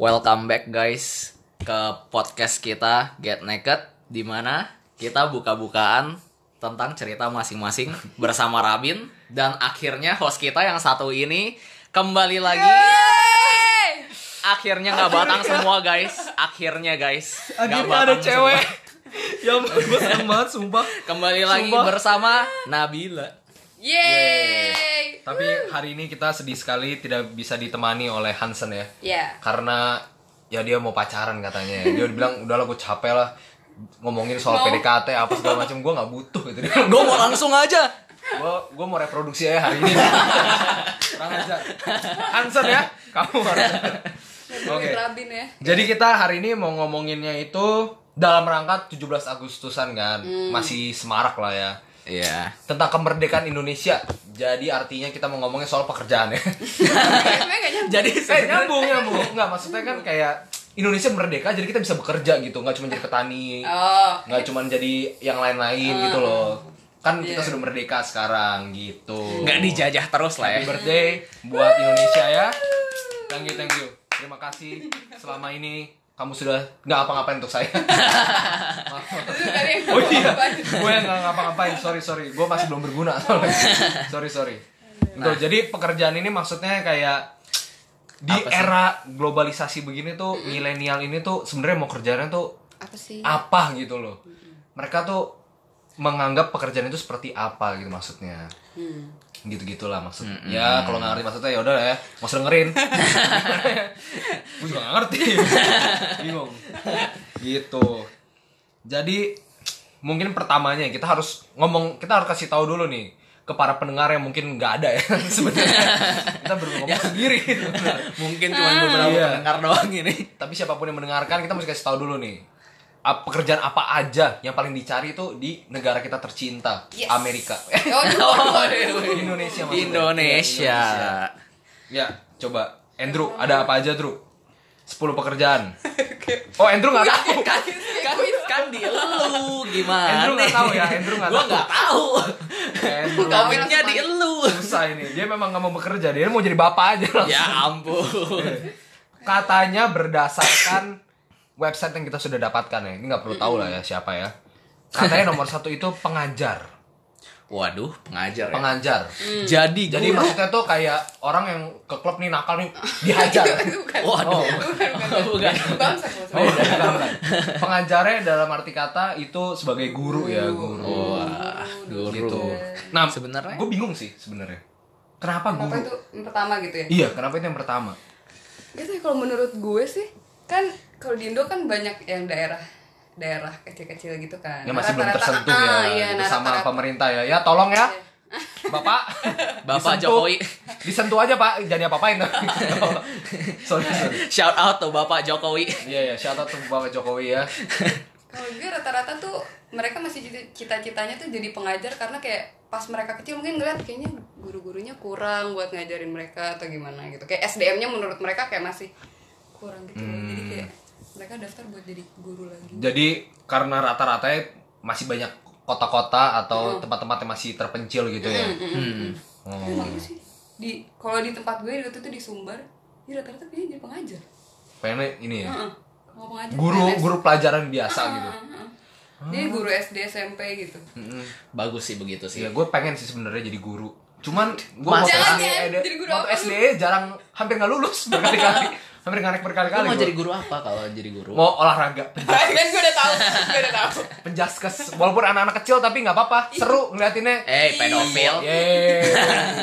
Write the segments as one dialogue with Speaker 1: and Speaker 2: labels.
Speaker 1: Welcome back guys ke podcast kita Get Naked di mana kita buka-bukaan tentang cerita masing-masing bersama Rabin dan akhirnya host kita yang satu ini kembali lagi. Akhirnya nggak batang semua guys. Akhirnya guys. Nggak
Speaker 2: Akhirnya ada
Speaker 1: batang
Speaker 2: cewek
Speaker 1: semua.
Speaker 2: yang gue Ya seneng banget sumpah.
Speaker 1: Kembali lagi
Speaker 2: Sumpah.
Speaker 1: bersama Nabila.
Speaker 3: Yeay.
Speaker 2: Tapi hari ini kita sedih sekali tidak bisa ditemani oleh Hansen ya.
Speaker 3: Ya.
Speaker 2: Karena ya dia mau pacaran katanya. ya. Dia udah bilang udahlah gue capek lah ngomongin soal
Speaker 3: Mau.
Speaker 2: PDKT apa segala macam gue nggak butuh gitu. Dia bilang,
Speaker 1: Gue mau langsung aja.
Speaker 2: Gue gue mau reproduksi aja hari ini. Kurang ajar. Hansen ya, kamu harus. Oke.
Speaker 3: Oke. Rabin ya.
Speaker 2: Jadi kita hari ini mau ngomonginnya itu dalam rangka 17 Agustusan kan. Masih semarak lah ya.
Speaker 1: Iya.
Speaker 2: tentang kemerdekaan Indonesia. Jadi artinya kita mau ngomongin soal pekerjaan ya.
Speaker 3: Sebenarnya nggak nyambung.
Speaker 1: Jadi
Speaker 2: eh
Speaker 1: sebenarnya
Speaker 2: nyambung nyambung. Enggak maksudnya kan kayak Indonesia merdeka jadi kita bisa bekerja gitu, nggak cuma jadi petani,
Speaker 3: Oh.
Speaker 2: nggak cuma jadi yang lain-lain gitu loh. Kan kita
Speaker 3: Iya.
Speaker 2: sudah merdeka sekarang gitu.
Speaker 1: nggak dijajah terus lah ya.
Speaker 2: Happy birthday buat Indonesia ya. Thank you thank you. Terima kasih selama ini kamu sudah nggak apa-ngapain untuk saya.
Speaker 3: Itu tadi yang
Speaker 2: Oh iya,
Speaker 3: apa?
Speaker 2: gue yang nggak ngapa-ngapain. Sorry sorry, gue masih belum berguna. soalnya. sorry sorry. Betul, jadi pekerjaan ini maksudnya kayak di
Speaker 1: Apa sih?
Speaker 2: era globalisasi begini tuh milenial ini tuh sebenarnya mau kerjanya tuh
Speaker 3: Apa
Speaker 1: Iya.
Speaker 3: sih?
Speaker 2: apa gitu loh. Mereka tuh menganggap pekerjaan itu seperti apa gitu maksudnya.
Speaker 3: Hmm.
Speaker 2: Gitu gitulah maksudnya. Ya kalau nggak ngerti maksudnya ya udah lah ya, mau dengerin. gue juga nggak ngerti. Bingung. Gitu. Jadi mungkin pertamanya kita harus ngomong, kita harus kasih tahu dulu nih ke para pendengar yang mungkin nggak ada ya sebenarnya. kita baru ngomong sendiri. gitu.
Speaker 1: Mungkin cuma beberapa
Speaker 2: Iya.
Speaker 1: pendengar doang ini.
Speaker 2: Tapi siapapun yang mendengarkan kita mesti kasih tahu dulu nih. Ap- Pekerjaan apa aja yang paling dicari itu di negara kita tercinta,
Speaker 3: Yes.
Speaker 2: Amerika. iya.
Speaker 3: Oh,
Speaker 1: Oh,
Speaker 2: Indonesia maksudnya.
Speaker 1: Indonesia.
Speaker 2: Iya, Indonesia. Ya, coba Andrew, ada apa aja, Drew? 10 pekerjaan. Oh, Andrew nggak tahu.
Speaker 1: Kan, kan, kan di lu gimana?
Speaker 2: Andrew nggak tahu ya, Andrew nggak
Speaker 1: Gua
Speaker 2: tahu.
Speaker 1: nggak tahu.
Speaker 2: Eh, Andrew
Speaker 1: Komitnya di lu.
Speaker 2: susah ini. Dia memang nggak mau bekerja, dia mau jadi bapak aja langsung.
Speaker 1: Ya ampun.
Speaker 2: Katanya berdasarkan website yang kita sudah dapatkan ya. Ini nggak perlu tahu lah ya siapa ya. Katanya nomor satu itu pengajar.
Speaker 1: Waduh, pengajar ya.
Speaker 2: Pengajar.
Speaker 1: Jadi
Speaker 2: Jadi
Speaker 1: guru.
Speaker 2: maksudnya tuh kayak orang yang ke klub nih nakal nih dihajar.
Speaker 3: Itu bukan.
Speaker 1: Waduh.
Speaker 3: Bukan,
Speaker 1: Bukan.
Speaker 3: bukan. Bangsa kalau
Speaker 2: Oh,
Speaker 3: sebenarnya.
Speaker 2: bukan, bukan. Pengajarnya dalam arti kata itu sebagai guru ya, guru.
Speaker 1: Wah, guru.
Speaker 2: Gitu.
Speaker 1: Nah, sebenarnya
Speaker 2: Gue bingung sih sebenarnya. Kenapa
Speaker 3: Kenapa
Speaker 2: guru?
Speaker 3: itu yang pertama gitu ya?
Speaker 2: Iya, kenapa itu yang pertama?
Speaker 3: Gitu ya, kalau menurut gue sih kan kalau di Indo kan banyak yang daerah daerah kecil-kecil gitu kan.
Speaker 2: Yang masih belum
Speaker 3: Rata-rata-
Speaker 2: tersentuh
Speaker 3: ah,
Speaker 2: ya
Speaker 3: Iya, nah,
Speaker 2: gitu sama
Speaker 3: rata-rata- Iya.
Speaker 2: pemerintah ya. Ya tolong ya. Bapak,
Speaker 1: Bapak
Speaker 2: disentuh.
Speaker 1: Jokowi.
Speaker 2: disentuh aja Pak, jangan apa-apain. sorry, sorry.
Speaker 1: shout out tuh Bapak Jokowi.
Speaker 2: Iya ya, shout out to Bapak Jokowi ya.
Speaker 3: Kalau gue rata-rata tuh mereka masih cita- cita-citanya tuh jadi pengajar karena kayak pas mereka kecil mungkin ngeliat kayaknya guru-gurunya kurang buat ngajarin mereka atau gimana gitu. Kayak SDM-nya menurut mereka kayak masih kurang gitu. loh. Jadi
Speaker 1: Hmm.
Speaker 3: kayak mereka daftar buat jadi guru lagi.
Speaker 2: Jadi karena rata-ratanya masih banyak kota-kota atau tempat-tempat yang masih terpencil gitu ya.
Speaker 1: Hmm.
Speaker 2: Oh.
Speaker 3: Dan itu iya sih di kalau di tempat gue waktu itu di Sumbar, ini rata-rata kayaknya jadi pengajar.
Speaker 2: Pengennya ini ya.
Speaker 3: Heeh. Kalau pengajar
Speaker 2: Guru
Speaker 3: PNS.
Speaker 2: guru pelajaran biasa gitu.
Speaker 3: Heeh, heeh. Jadi guru
Speaker 1: Ah.
Speaker 3: SD SMP gitu.
Speaker 2: Mm-mm.
Speaker 1: Bagus sih begitu sih.
Speaker 2: Iya, gue pengen sih sebenarnya jadi guru. Cuman gue
Speaker 1: Masa?
Speaker 2: waktu
Speaker 3: Jangan,
Speaker 2: SD,
Speaker 3: jangan.
Speaker 1: ya,
Speaker 2: eh,
Speaker 3: Jadi guru
Speaker 2: waktu
Speaker 3: apa lu?
Speaker 2: SD jarang hampir nggak lulus berkali-kali. hampir ngarek
Speaker 1: Lu
Speaker 2: berkali-kali.
Speaker 1: mau
Speaker 2: gua.
Speaker 1: jadi guru apa kalau jadi guru?
Speaker 2: mau olahraga
Speaker 3: kan gue udah tahu, gue udah tahu.
Speaker 2: penjaskes walaupun anak-anak kecil tapi nggak apa-apa seru ngeliatinnya
Speaker 1: Eh,
Speaker 2: Iya,
Speaker 1: pedofil.
Speaker 2: Yeay,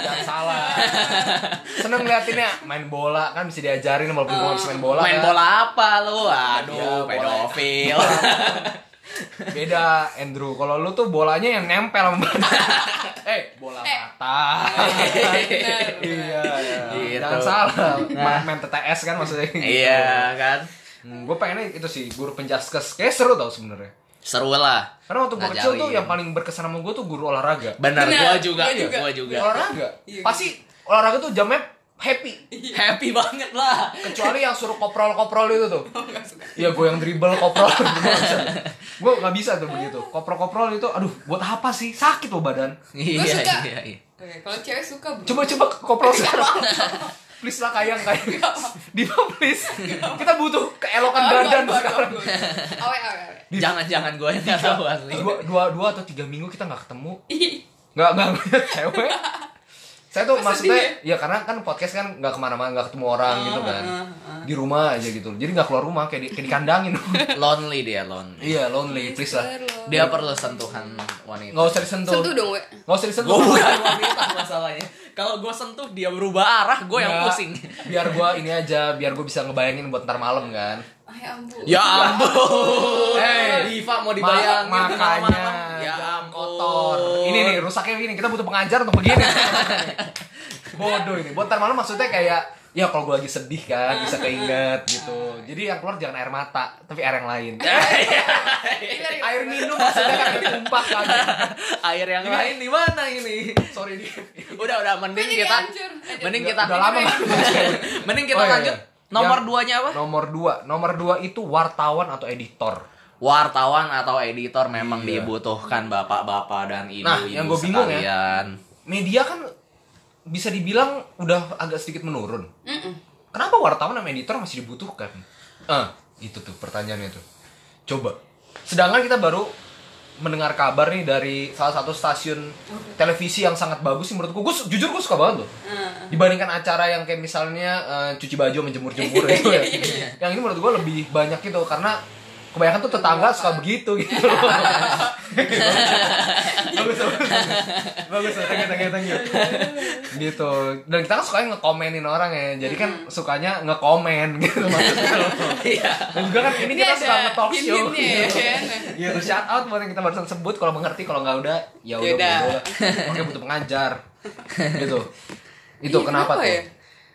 Speaker 2: jangan salah. Seneng ngeliatinnya main bola kan bisa diajarin walaupun gue nggak bisa main bola.
Speaker 1: Oh. Main
Speaker 2: ya.
Speaker 1: bola apa lu?
Speaker 2: Iya,
Speaker 1: Aduh,
Speaker 2: bola.
Speaker 1: pedofil.
Speaker 2: Beda Andrew, kalau lu tuh bolanya yang nempel sama badan. eh, bola
Speaker 3: Eh.
Speaker 2: mata.
Speaker 3: Benar, benar.
Speaker 2: iya, iya.
Speaker 1: Gitu. Nah.
Speaker 2: Jangan salah. Ma- Main TTS kan maksudnya.
Speaker 1: Iya kan?
Speaker 2: gue Hmm, pengennya itu sih guru penjaskes. Kayak seru tau sebenarnya.
Speaker 1: Seru lah.
Speaker 2: Karena waktu gue kecil tuh
Speaker 1: Ngajarin.
Speaker 2: yang paling berkesan sama gue tuh guru olahraga. Ya.
Speaker 1: Benar, gua
Speaker 3: Benar,
Speaker 1: juga,
Speaker 3: gua juga.
Speaker 1: gua juga.
Speaker 2: Olahraga.
Speaker 3: Iya.
Speaker 2: Pasti olahraga tuh jamnya happy.
Speaker 1: Iya. Happy banget lah.
Speaker 2: kecuali yang suruh koprol-koprol itu tuh Iya gue yang dribble koprol gue nggak bisa tuh begitu koprol-koprol itu aduh buat apa sih sakit loh badan
Speaker 1: Iya,
Speaker 3: suka.
Speaker 1: iya, iya.
Speaker 3: Oke, kalau cewek suka bro.
Speaker 2: coba coba koprol sekarang please lah kayang kayang Dima please kita butuh keelokan badan sekarang
Speaker 3: Awe awe awe.
Speaker 1: Jangan-jangan gue yang
Speaker 2: Iya.
Speaker 1: gak tahu asli.
Speaker 2: dua, dua, dua atau tiga minggu kita nggak ketemu nggak nggak ngeliat cewek saya tuh maksudnya ya karena kan podcast kan nggak kemana-mana nggak ketemu orang gitu kan di rumah aja gitu jadi nggak keluar rumah kayak, di, kayak dikandangin
Speaker 1: Lonely dia lonely.
Speaker 2: iya lonely please lah
Speaker 1: Dia perlu sentuhan wanita.
Speaker 2: nggak usah disentuh
Speaker 3: Sentuh dong, we.
Speaker 2: nggak usah disentuh
Speaker 1: Gue bukan wanita masalahnya. Kalau gue sentuh dia berubah arah, gue yang
Speaker 2: Nggak.
Speaker 1: pusing.
Speaker 2: biar gue ini aja biar gue bisa ngebayangin buat ntar malam kan
Speaker 3: Ay Ah, ampun.
Speaker 1: Ya ampun.
Speaker 2: Eh,
Speaker 1: Diva mau
Speaker 2: Ma-
Speaker 1: dibayangin
Speaker 2: makanya
Speaker 1: malam-malam. Ya
Speaker 2: jangan
Speaker 1: ampun.
Speaker 2: kotor Oh. ini nih rusaknya ini kita butuh pengajar untuk begini bodoh ini buat ntar malam maksudnya kayak ya kalau gue lagi sedih kan bisa keinget gitu jadi yang keluar jangan air mata tapi air yang lain air minum maksudnya kan yang tumpah kan
Speaker 1: Air yang lain di mana ini?
Speaker 2: sorry ini
Speaker 1: Udah udah mending
Speaker 3: Ini
Speaker 1: kita
Speaker 3: hancur. Hancur.
Speaker 1: mending
Speaker 2: udah,
Speaker 1: kita
Speaker 2: udah lama kan
Speaker 1: mending kita
Speaker 2: Oh, iya,
Speaker 1: lanjut.
Speaker 2: iya.
Speaker 1: Nomor
Speaker 2: Yang-
Speaker 1: duanya apa?
Speaker 2: nomor dua nomor dua itu wartawan atau editor
Speaker 1: wartawan atau editor memang
Speaker 2: Iya.
Speaker 1: dibutuhkan bapak-bapak dan ibu-ibu
Speaker 2: Nah, yang gua bingung ya.
Speaker 1: sekalian.
Speaker 2: media kan bisa dibilang udah agak sedikit menurun
Speaker 3: Mm-mm.
Speaker 2: Kenapa wartawan sama editor masih dibutuhkan? Ah, itu tuh pertanyaannya tuh. Coba. Sedangkan kita baru mendengar kabar nih dari salah satu stasiun televisi yang sangat bagus sih menurutku. Gue su- jujur gue suka banget loh. Dibandingkan acara yang kayak misalnya eh, cuci baju menjemur-jemur gitu ya. yang ini menurut gue lebih banyak gitu karena kebanyakan tuh tetangga suka begitu gitu loh. bagus, bagus, bagus, thank you, thank you, thank you. gitu dan kita kan sukanya ngekomenin orang ya jadi kan sukanya ngekomen gitu maksudnya loh.
Speaker 1: Iya.
Speaker 2: dan juga kan ini
Speaker 3: Ini
Speaker 2: kita
Speaker 3: ada
Speaker 2: suka nge-talk show
Speaker 3: hint-hintnya ya,
Speaker 2: gitu.
Speaker 3: kan?
Speaker 2: gitu shout out buat yang kita barusan sebut kalau mengerti kalau nggak udah ya udah
Speaker 3: Yaudah.
Speaker 2: bodoh. makanya butuh pengajar gitu itu
Speaker 3: Ih,
Speaker 2: kenapa, tuh
Speaker 3: ya?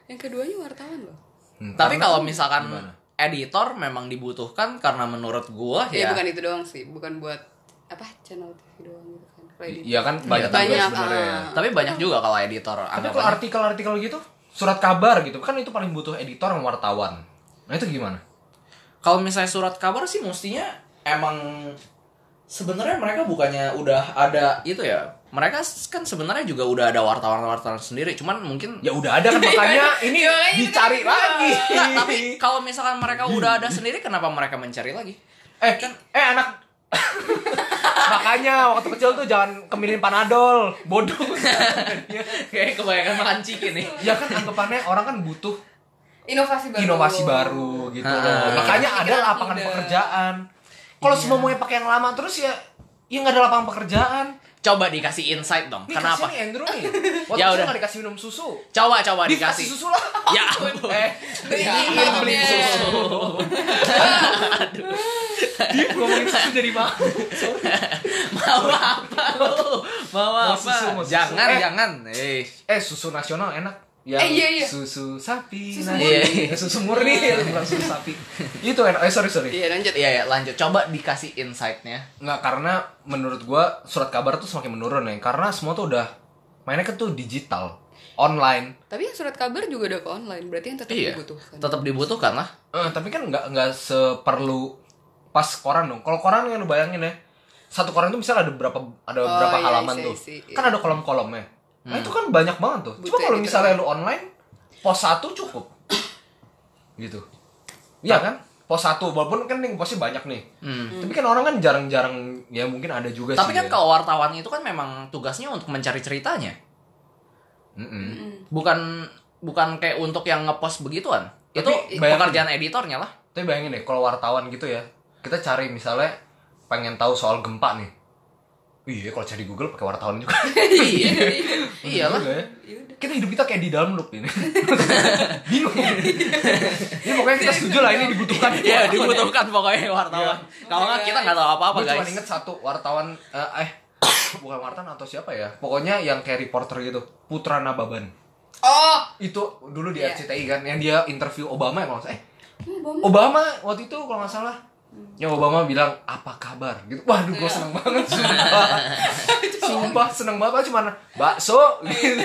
Speaker 3: Yang keduanya wartawan loh.
Speaker 2: Hmm,
Speaker 1: Tapi
Speaker 2: karena-
Speaker 1: kalau misalkan
Speaker 2: Gimana?
Speaker 1: editor memang dibutuhkan karena menurut gua
Speaker 3: Ya.
Speaker 2: Iya.
Speaker 1: ya.
Speaker 3: bukan itu doang sih, bukan buat apa channel TV doang gitu kan. Kalau di-
Speaker 2: iya kan banyak,
Speaker 3: Banyak,
Speaker 2: juga sebenarnya ya.
Speaker 3: ah.
Speaker 1: Tapi banyak juga kalau editor
Speaker 2: tapi
Speaker 1: anggapannya.
Speaker 2: kalau artikel-artikel gitu surat kabar gitu kan itu paling butuh editor sama wartawan nah itu gimana
Speaker 1: kalau misalnya surat kabar sih mestinya emang sebenarnya mereka bukannya udah ada itu ya mereka s- kan sebenarnya juga udah ada wartawan-wartawan sendiri cuman mungkin
Speaker 2: ya udah ada kan makanya ini
Speaker 3: Ya, makanya itu
Speaker 2: dicari
Speaker 3: kan.
Speaker 2: lagi
Speaker 1: Nggak, tapi kalau misalkan mereka udah ada sendiri kenapa mereka mencari lagi
Speaker 2: eh kan eh anak makanya waktu kecil tuh jangan kemilin panadol bodoh
Speaker 1: kayak kebanyakan makan ciki nih
Speaker 2: ya kan anggapannya orang kan butuh
Speaker 3: Inovasi baru.
Speaker 2: inovasi baru gitu
Speaker 1: Ah.
Speaker 2: loh makanya
Speaker 3: Pikiran
Speaker 2: ada lapangan
Speaker 3: muda.
Speaker 2: pekerjaan
Speaker 3: Iya.
Speaker 2: kalau semua mau pakai yang lama terus ya ya nggak ada lapangan pekerjaan
Speaker 1: coba dikasih insight dong
Speaker 2: Nih,
Speaker 1: kenapa
Speaker 2: kasihan nih Andrew nih waktu
Speaker 1: Ya
Speaker 2: kecil
Speaker 1: udah.
Speaker 2: nggak dikasih minum susu
Speaker 1: coba coba
Speaker 2: dikasih
Speaker 1: dikasih iya,
Speaker 2: susu lah
Speaker 1: ya ampun
Speaker 2: eh
Speaker 3: Beliin,
Speaker 2: beliin, beliin
Speaker 3: beliin.
Speaker 2: susu dia ngomongin susu jadi mahal
Speaker 1: mau apa lu mau apa
Speaker 2: Mau susu, mau susu.
Speaker 1: jangan
Speaker 2: Eh.
Speaker 1: jangan eh
Speaker 2: eh susu nasional enak ya
Speaker 3: Eh, iya, iya.
Speaker 2: susu sapi
Speaker 3: Susu
Speaker 2: nasional.
Speaker 1: murni.
Speaker 2: Eh, susu murni bukan susu sapi itu enak eh sorry sorry
Speaker 3: Iya, lanjut.
Speaker 1: iya ya lanjut coba dikasih insightnya
Speaker 2: nggak karena menurut gua surat kabar tuh semakin menurun ya karena semua tuh udah mainnya kan tuh digital online
Speaker 3: Tapi yang surat kabar juga udah ke online, berarti yang tetap
Speaker 1: iya
Speaker 3: dibutuhkan.
Speaker 1: tetap dibutuhkan lah
Speaker 2: Eh, tapi kan nggak nggak seperlu pas koran dong kalau koran yang lu bayangin ya satu koran tuh misalnya ada berapa ada
Speaker 3: Oh,
Speaker 2: berapa
Speaker 3: iya,
Speaker 2: halaman
Speaker 3: iya,
Speaker 2: tuh
Speaker 3: iya, iya. Hmm.
Speaker 2: kan ada kolom-kolomnya nah itu kan banyak banget tuh
Speaker 3: Butuh
Speaker 2: cuma kalau
Speaker 3: editor.
Speaker 2: misalnya lu online pos satu cukup gitu iya kan pos satu walaupun kan nih posnya banyak nih
Speaker 3: Hmm.
Speaker 2: tapi kan orang kan jarang-jarang ya mungkin ada juga
Speaker 1: Tapi
Speaker 2: sih
Speaker 1: kan
Speaker 2: ya.
Speaker 1: kalau wartawan itu kan memang tugasnya untuk mencari ceritanya.
Speaker 2: Mm-mm.
Speaker 1: Bukan bukan kayak untuk yang ngepost begituan. Itu
Speaker 2: Tapi bayangin.
Speaker 1: pekerjaan editornya lah.
Speaker 2: Tapi bayangin deh, kalau wartawan gitu ya, kita cari misalnya pengen tahu soal gempa nih. Iya, kalau cari Google pakai wartawan juga.
Speaker 1: iya. Iyalah.
Speaker 2: Juga ya. Kita hidup kita kayak di dalam loop ini. Bingung. Ini pokoknya kita setuju lah ini dibutuhkan.
Speaker 1: Iya, dibutuhkan pokoknya wartawan. Kalau nggak kita nggak tahu apa-apa,
Speaker 2: Gue cuma
Speaker 1: guys.
Speaker 2: inget satu wartawan eh eh, bukan wartawan atau siapa ya? Pokoknya yang kayak reporter gitu, Putra Nababan.
Speaker 3: Oh,
Speaker 2: Itu dulu di
Speaker 3: Iya.
Speaker 2: RCTI kan yang dia interview Obama ya kalau nggak salah. eh
Speaker 3: ini bom.
Speaker 2: Obama waktu itu kalau nggak salah yang Obama bilang apa kabar gitu waduh
Speaker 1: Iya.
Speaker 2: gue seneng banget sumpah sumpah seneng banget cuma bakso gitu